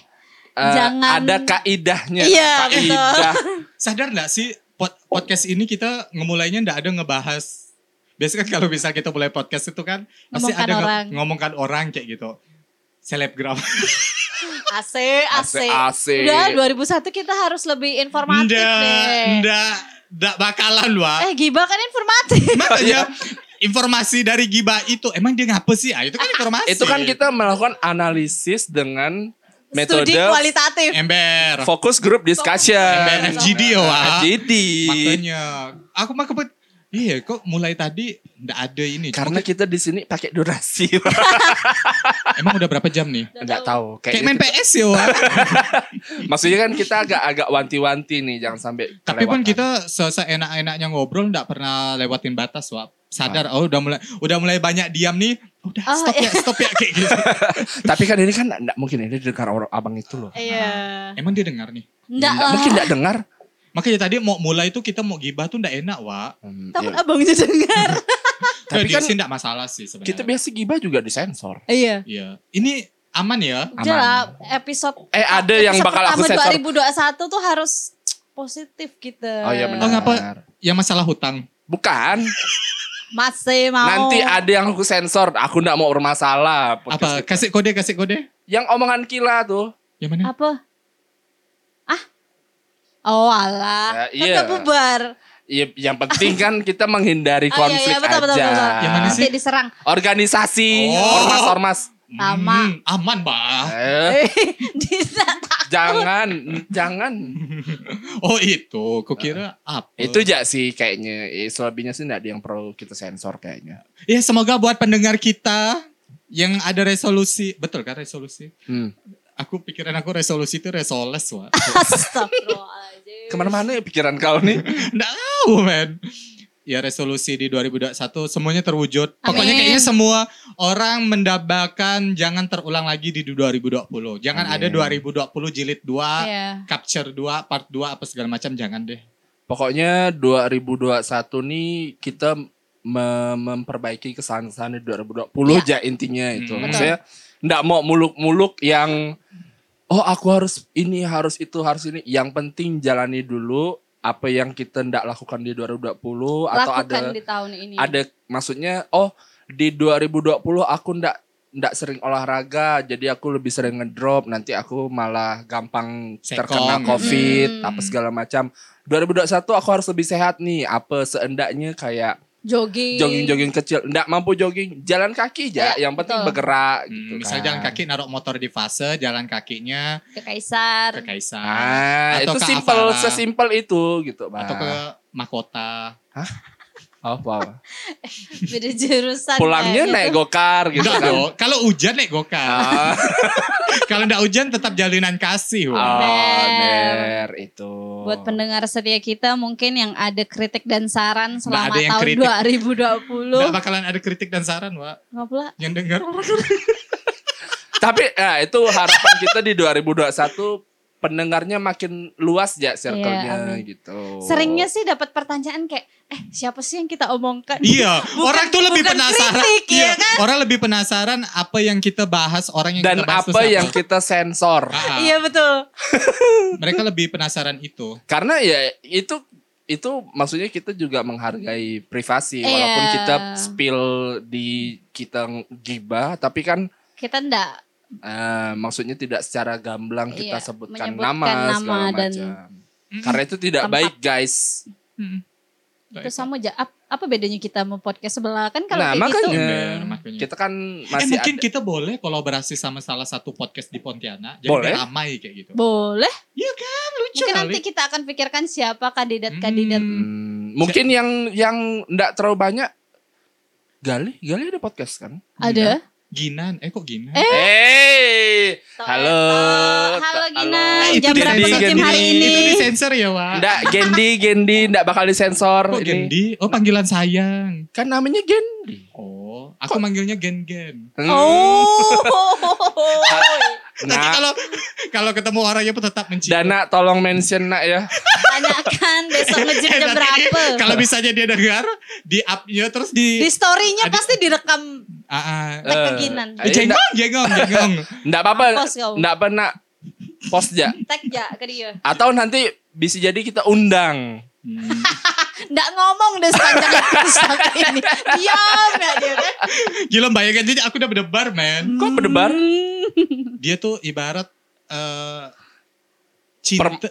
[SPEAKER 3] Eh,
[SPEAKER 2] Jangan-
[SPEAKER 3] ada kaidahnya.
[SPEAKER 2] Iya,
[SPEAKER 3] kaidah.
[SPEAKER 1] [LAUGHS] Sadar nggak sih pod- podcast ini kita ngemulainya nggak ada ngebahas. Biasanya kan kalau bisa kita mulai podcast itu kan pasti
[SPEAKER 2] Ngomongkan
[SPEAKER 1] ada nge-
[SPEAKER 2] orang.
[SPEAKER 1] ngomongkan orang kayak gitu. Selebgram.
[SPEAKER 2] AC,
[SPEAKER 3] AC.
[SPEAKER 2] AC. Udah 2001 kita harus lebih informatif deh.
[SPEAKER 1] Nggak, nggak, nggak bakalan wah.
[SPEAKER 2] Eh, gibah kan informatif.
[SPEAKER 1] Makanya informasi dari Giba itu emang dia ngapa sih? Ah, itu kan informasi.
[SPEAKER 3] [LAUGHS] Itu kan kita melakukan analisis dengan metode
[SPEAKER 2] Studi [LAUGHS] kualitatif.
[SPEAKER 1] ember.
[SPEAKER 3] fokus group discussion.
[SPEAKER 1] Ember FGD ya, Wak.
[SPEAKER 3] FGD.
[SPEAKER 1] Makanya aku mah kepet. Iya, kok mulai tadi ndak ada ini. Cuma
[SPEAKER 3] Karena kita di sini pakai durasi. [LAUGHS]
[SPEAKER 1] kita- emang udah berapa jam nih?
[SPEAKER 3] Enggak tahu. gitu.
[SPEAKER 1] Kayak main PS ya.
[SPEAKER 3] [LAUGHS]
[SPEAKER 1] Wak.
[SPEAKER 3] Maksudnya kan kita agak-agak wanti-wanti nih, jangan sampai
[SPEAKER 1] Tapi pun
[SPEAKER 3] kelewatan.
[SPEAKER 1] kita se- seenak-enaknya ngobrol ndak pernah lewatin batas, Wak. Sadar,
[SPEAKER 3] Ah.
[SPEAKER 1] oh udah mulai udah mulai banyak diam nih. Udah
[SPEAKER 2] Oh,
[SPEAKER 1] stop ya, stop ya
[SPEAKER 2] [LAUGHS]
[SPEAKER 1] kayak gitu.
[SPEAKER 3] Tapi kan ini kan enggak mungkin ini dengar orang abang itu loh.
[SPEAKER 2] Iya.
[SPEAKER 1] Emang dia dengar nih.
[SPEAKER 2] Enggak
[SPEAKER 3] Nggak-
[SPEAKER 2] lah.
[SPEAKER 3] Mungkin enggak dengar.
[SPEAKER 1] Makanya tadi mau mulai tuh kita mau gibah tuh ndak enak, Wak.
[SPEAKER 3] Hmm,
[SPEAKER 2] Takut
[SPEAKER 3] ya.
[SPEAKER 2] abangnya
[SPEAKER 3] [LAUGHS]
[SPEAKER 2] dengar.
[SPEAKER 1] Tapi
[SPEAKER 3] Tapi
[SPEAKER 1] kan
[SPEAKER 3] kan-
[SPEAKER 1] sih ndak masalah sih sebenarnya.
[SPEAKER 3] Kita biasa gibah juga disensor.
[SPEAKER 2] Iya.
[SPEAKER 1] Iya. Ini aman ya.
[SPEAKER 2] Udah
[SPEAKER 3] Aman.
[SPEAKER 2] lah, episode
[SPEAKER 3] Eh, ada yang
[SPEAKER 2] episode
[SPEAKER 3] bakal
[SPEAKER 2] pertama
[SPEAKER 3] aku sensor.
[SPEAKER 2] 2021 tuh harus positif gitu.
[SPEAKER 3] Oh iya benar.
[SPEAKER 1] Oh, ngapa? Yang masalah hutang.
[SPEAKER 3] Bukan.
[SPEAKER 2] Masih mau.
[SPEAKER 3] Nanti ada yang aku sensor. Aku enggak mau bermasalah. podcast
[SPEAKER 1] Apa?
[SPEAKER 3] kita.
[SPEAKER 1] Kasih kode, kasih kode.
[SPEAKER 3] Yang omongan kila tuh.
[SPEAKER 1] Yang mana?
[SPEAKER 2] apa? Ah. Oh alah, kan
[SPEAKER 3] Ya, iya.
[SPEAKER 2] udah bubar.
[SPEAKER 3] Ya, yang penting kan kita menghindari
[SPEAKER 2] Oh,
[SPEAKER 3] konflik
[SPEAKER 2] betul, betul,
[SPEAKER 3] aja.
[SPEAKER 2] betul.
[SPEAKER 1] Yang mana sih?
[SPEAKER 2] Nanti diserang.
[SPEAKER 3] Organisasi,
[SPEAKER 1] Oh.
[SPEAKER 3] ormas-ormas.
[SPEAKER 2] Lama.
[SPEAKER 1] Hmm, aman, Mbak.
[SPEAKER 3] Eh,
[SPEAKER 2] [LAUGHS] Diserang.
[SPEAKER 3] jangan, jangan.
[SPEAKER 1] Oh, itu. Kok kira apa?
[SPEAKER 3] Ah. Itu aja sih kayaknya. Eh, Selebihnya sih enggak ada yang perlu kita sensor kayaknya.
[SPEAKER 1] Ya, semoga buat pendengar kita yang ada resolusi. Betul kan resolusi?
[SPEAKER 3] Hmm.
[SPEAKER 1] Aku pikiran aku resolusi itu resoles, Wak. [LAUGHS]
[SPEAKER 2] Astagfirullahaladzim.
[SPEAKER 3] Kemana-mana ya pikiran kau nih.
[SPEAKER 1] Nggak tahu, men. Ya resolusi di 2021 semuanya terwujud. Pokoknya
[SPEAKER 2] Amin.
[SPEAKER 1] kayaknya semua orang mendapatkan jangan terulang lagi di 2020. Jangan ada
[SPEAKER 3] Amin.
[SPEAKER 1] 2020 jilid 2,
[SPEAKER 2] Iya.
[SPEAKER 1] capture 2, part 2 apa segala macam jangan deh.
[SPEAKER 3] Pokoknya 2021 nih kita me- memperbaiki kesalahan-kesalahan di 2020 aja intinya itu.
[SPEAKER 1] Hmm.
[SPEAKER 3] Maksudnya enggak mau muluk-muluk yang oh aku harus ini, harus itu, harus ini. Yang penting jalani dulu apa yang kita enggak lakukan di 2020 atau ada
[SPEAKER 2] Lakukan di tahun ini.
[SPEAKER 3] ada maksudnya oh di 2020 aku ndak ndak sering olahraga jadi aku lebih sering ngedrop nanti aku malah gampang
[SPEAKER 1] Sekong.
[SPEAKER 3] terkena covid
[SPEAKER 2] Hmm.
[SPEAKER 3] apa segala macam 2021 aku harus lebih sehat nih apa seendaknya kayak
[SPEAKER 2] jogging.
[SPEAKER 3] jogging-jogging kecil ndak mampu jogging jalan kaki aja
[SPEAKER 2] Ya,
[SPEAKER 3] yang penting
[SPEAKER 2] betul.
[SPEAKER 3] bergerak
[SPEAKER 1] Hmm,
[SPEAKER 3] gitu
[SPEAKER 1] misal
[SPEAKER 3] kan.
[SPEAKER 1] jalan kaki naruh motor di fase, jalan kakinya
[SPEAKER 2] ke Kaisar.
[SPEAKER 1] ke Kaisar
[SPEAKER 3] ah
[SPEAKER 1] Atau
[SPEAKER 3] itu
[SPEAKER 1] ke
[SPEAKER 3] simpel
[SPEAKER 1] Avara.
[SPEAKER 3] Ah. sesimpel itu gitu Bang. [LAUGHS]
[SPEAKER 1] atau ke Mahkota.
[SPEAKER 3] Hah? Apa? apa?
[SPEAKER 2] beda jurusan
[SPEAKER 3] Pulangnya
[SPEAKER 2] kayak
[SPEAKER 3] naik
[SPEAKER 2] gitu.
[SPEAKER 3] gokar gitu
[SPEAKER 1] Enggak
[SPEAKER 3] kan.
[SPEAKER 1] dong. Kalau hujan naik gokar.
[SPEAKER 3] Ah,
[SPEAKER 1] Kalau enggak hujan tetap jalinan kasih. Wak.
[SPEAKER 3] oh,
[SPEAKER 2] Ner.
[SPEAKER 3] ner, itu.
[SPEAKER 2] buat pendengar setia kita mungkin yang ada kritik dan saran selama
[SPEAKER 1] ada yang
[SPEAKER 2] tahun
[SPEAKER 1] kritik.
[SPEAKER 2] 2020
[SPEAKER 1] Enggak bakalan ada kritik dan saran, Wak.
[SPEAKER 2] nggak pula
[SPEAKER 1] Yang dengar orang.
[SPEAKER 3] Tapi ya, itu harapan kita di 2021 pendengarnya makin luas ya circle-nya
[SPEAKER 2] Iya, amin.
[SPEAKER 3] gitu.
[SPEAKER 2] seringnya sih dapat pertanyaan kayak eh siapa sih yang kita omongkan
[SPEAKER 1] Iya,
[SPEAKER 2] Bukan-
[SPEAKER 1] orang tuh lebih
[SPEAKER 2] bukan
[SPEAKER 1] penasaran.
[SPEAKER 2] kritik, iya kan?
[SPEAKER 1] orang lebih penasaran apa yang kita bahas, orang yang
[SPEAKER 3] dan
[SPEAKER 1] kita bahas tuh
[SPEAKER 3] apa
[SPEAKER 1] siapa.
[SPEAKER 3] yang kita sensor.
[SPEAKER 1] Ah, ah.
[SPEAKER 2] iya betul
[SPEAKER 1] Mereka lebih penasaran itu.
[SPEAKER 3] Karena ya itu itu maksudnya kita juga menghargai privasi walaupun
[SPEAKER 2] Iya.
[SPEAKER 3] kita spill di kita gibah tapi kan
[SPEAKER 2] kita ndak
[SPEAKER 3] eh, maksudnya tidak secara gamblang kita
[SPEAKER 2] Iya,
[SPEAKER 3] sebutkan nama,
[SPEAKER 2] menyebutkan nama
[SPEAKER 3] segala
[SPEAKER 2] dan-
[SPEAKER 3] macam. Karena itu tidak
[SPEAKER 2] Tempat.
[SPEAKER 3] baik guys.
[SPEAKER 2] Hmm. itu sama aja Ap- apa bedanya kita mau podcast sebelah kan kalau
[SPEAKER 3] Nah,
[SPEAKER 2] kayak gitu
[SPEAKER 3] makanya.
[SPEAKER 1] Bener, Iya, makanya.
[SPEAKER 3] Kita kan
[SPEAKER 1] Eh
[SPEAKER 3] masih
[SPEAKER 1] mungkin
[SPEAKER 3] ada-
[SPEAKER 1] kita boleh kolaborasi sama salah satu podcast di Pontianak. Jadi
[SPEAKER 3] Boleh.
[SPEAKER 1] biar ramai kayak gitu.
[SPEAKER 2] boleh
[SPEAKER 1] Iya kan, lucu
[SPEAKER 2] mungkin
[SPEAKER 1] kali.
[SPEAKER 2] nanti kita akan pikirkan siapa kandidat-kandidat
[SPEAKER 1] Hmm.
[SPEAKER 3] Hmm, mungkin yang yang enggak terlalu banyak Gali, Gali ada podcast kan?
[SPEAKER 2] ada
[SPEAKER 1] Ginan, eh kok Ginan?
[SPEAKER 2] Eh,
[SPEAKER 3] Hey, halo. Nah,
[SPEAKER 2] halo Gina
[SPEAKER 1] Eh,
[SPEAKER 2] jam
[SPEAKER 1] di-
[SPEAKER 2] berapa
[SPEAKER 1] di-
[SPEAKER 2] syuting
[SPEAKER 1] di-
[SPEAKER 2] hari
[SPEAKER 1] di-
[SPEAKER 2] ini
[SPEAKER 1] Itu disensor ya, Wak?
[SPEAKER 3] Enggak, Gendi, Gendi enggak bakal disensor
[SPEAKER 1] Kok
[SPEAKER 3] ini. Nah.
[SPEAKER 1] Gendi? Oh, panggilan sayang.
[SPEAKER 3] Kan namanya Gendi.
[SPEAKER 1] Oh, aku manggilnya Gen-Gen.
[SPEAKER 2] oh
[SPEAKER 1] Nanti
[SPEAKER 3] Hmm. Nah,
[SPEAKER 1] kalau [LAUGHS] kalau ketemu orangnya pun tetap mencium.
[SPEAKER 3] Dana tolong mention nak ya.
[SPEAKER 2] [LAUGHS] tanyakan besok
[SPEAKER 1] Eh,
[SPEAKER 2] ngejim jam
[SPEAKER 1] nanti
[SPEAKER 2] berapa
[SPEAKER 1] Kalau misalnya dia dengar, di upnya terus di...
[SPEAKER 2] di story-nya
[SPEAKER 1] Adik-
[SPEAKER 2] pasti direkam
[SPEAKER 1] Ah, ah.
[SPEAKER 2] Tag
[SPEAKER 3] Eh,
[SPEAKER 2] keginan.
[SPEAKER 3] eh, enggak-
[SPEAKER 1] jengong, jengong, jengong.
[SPEAKER 3] Enggak apa-apa.
[SPEAKER 2] Post kau.
[SPEAKER 3] Enggak apa nak post ya.
[SPEAKER 2] tag ya ke dia
[SPEAKER 3] Atau nanti bisa jadi kita undang.
[SPEAKER 1] Hmm.
[SPEAKER 2] nggak ngomong deh sepanjang episode
[SPEAKER 1] [LAUGHS]
[SPEAKER 2] ini diam ya dia kan
[SPEAKER 1] Gila bayangin jadi aku udah berdebar, man.
[SPEAKER 2] Hmm.
[SPEAKER 3] Kok berdebar? [LAUGHS]
[SPEAKER 1] dia tuh ibarat eh, cinta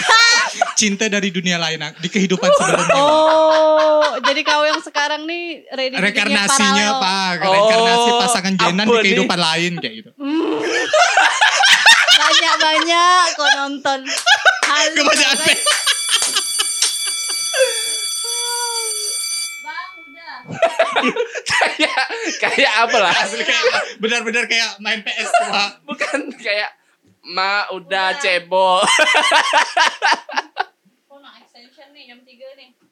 [SPEAKER 1] [LAUGHS] cinta dari dunia lain ah, di
[SPEAKER 2] Uh,
[SPEAKER 1] kehidupan sebelumnya
[SPEAKER 2] oh jadi kau yang sekarang nih ready to [LAUGHS] dunia
[SPEAKER 1] rekarnasinya
[SPEAKER 2] paralel.
[SPEAKER 1] pak rekarnasi
[SPEAKER 3] Oh,
[SPEAKER 1] pasangan jenan di
[SPEAKER 3] apa nih?
[SPEAKER 1] kehidupan lain kayak gitu
[SPEAKER 2] banyak banyak kau
[SPEAKER 1] [LAUGHS]
[SPEAKER 2] nonton Halo,
[SPEAKER 1] kebanyakan
[SPEAKER 2] bang. Bang, udah.
[SPEAKER 3] kayak kayak apa lah?
[SPEAKER 1] asli kayak benar-benar kayak main PS pak
[SPEAKER 3] Bukan kayak Ma udah cebol.
[SPEAKER 2] Kau nak extension nih jam 3 nih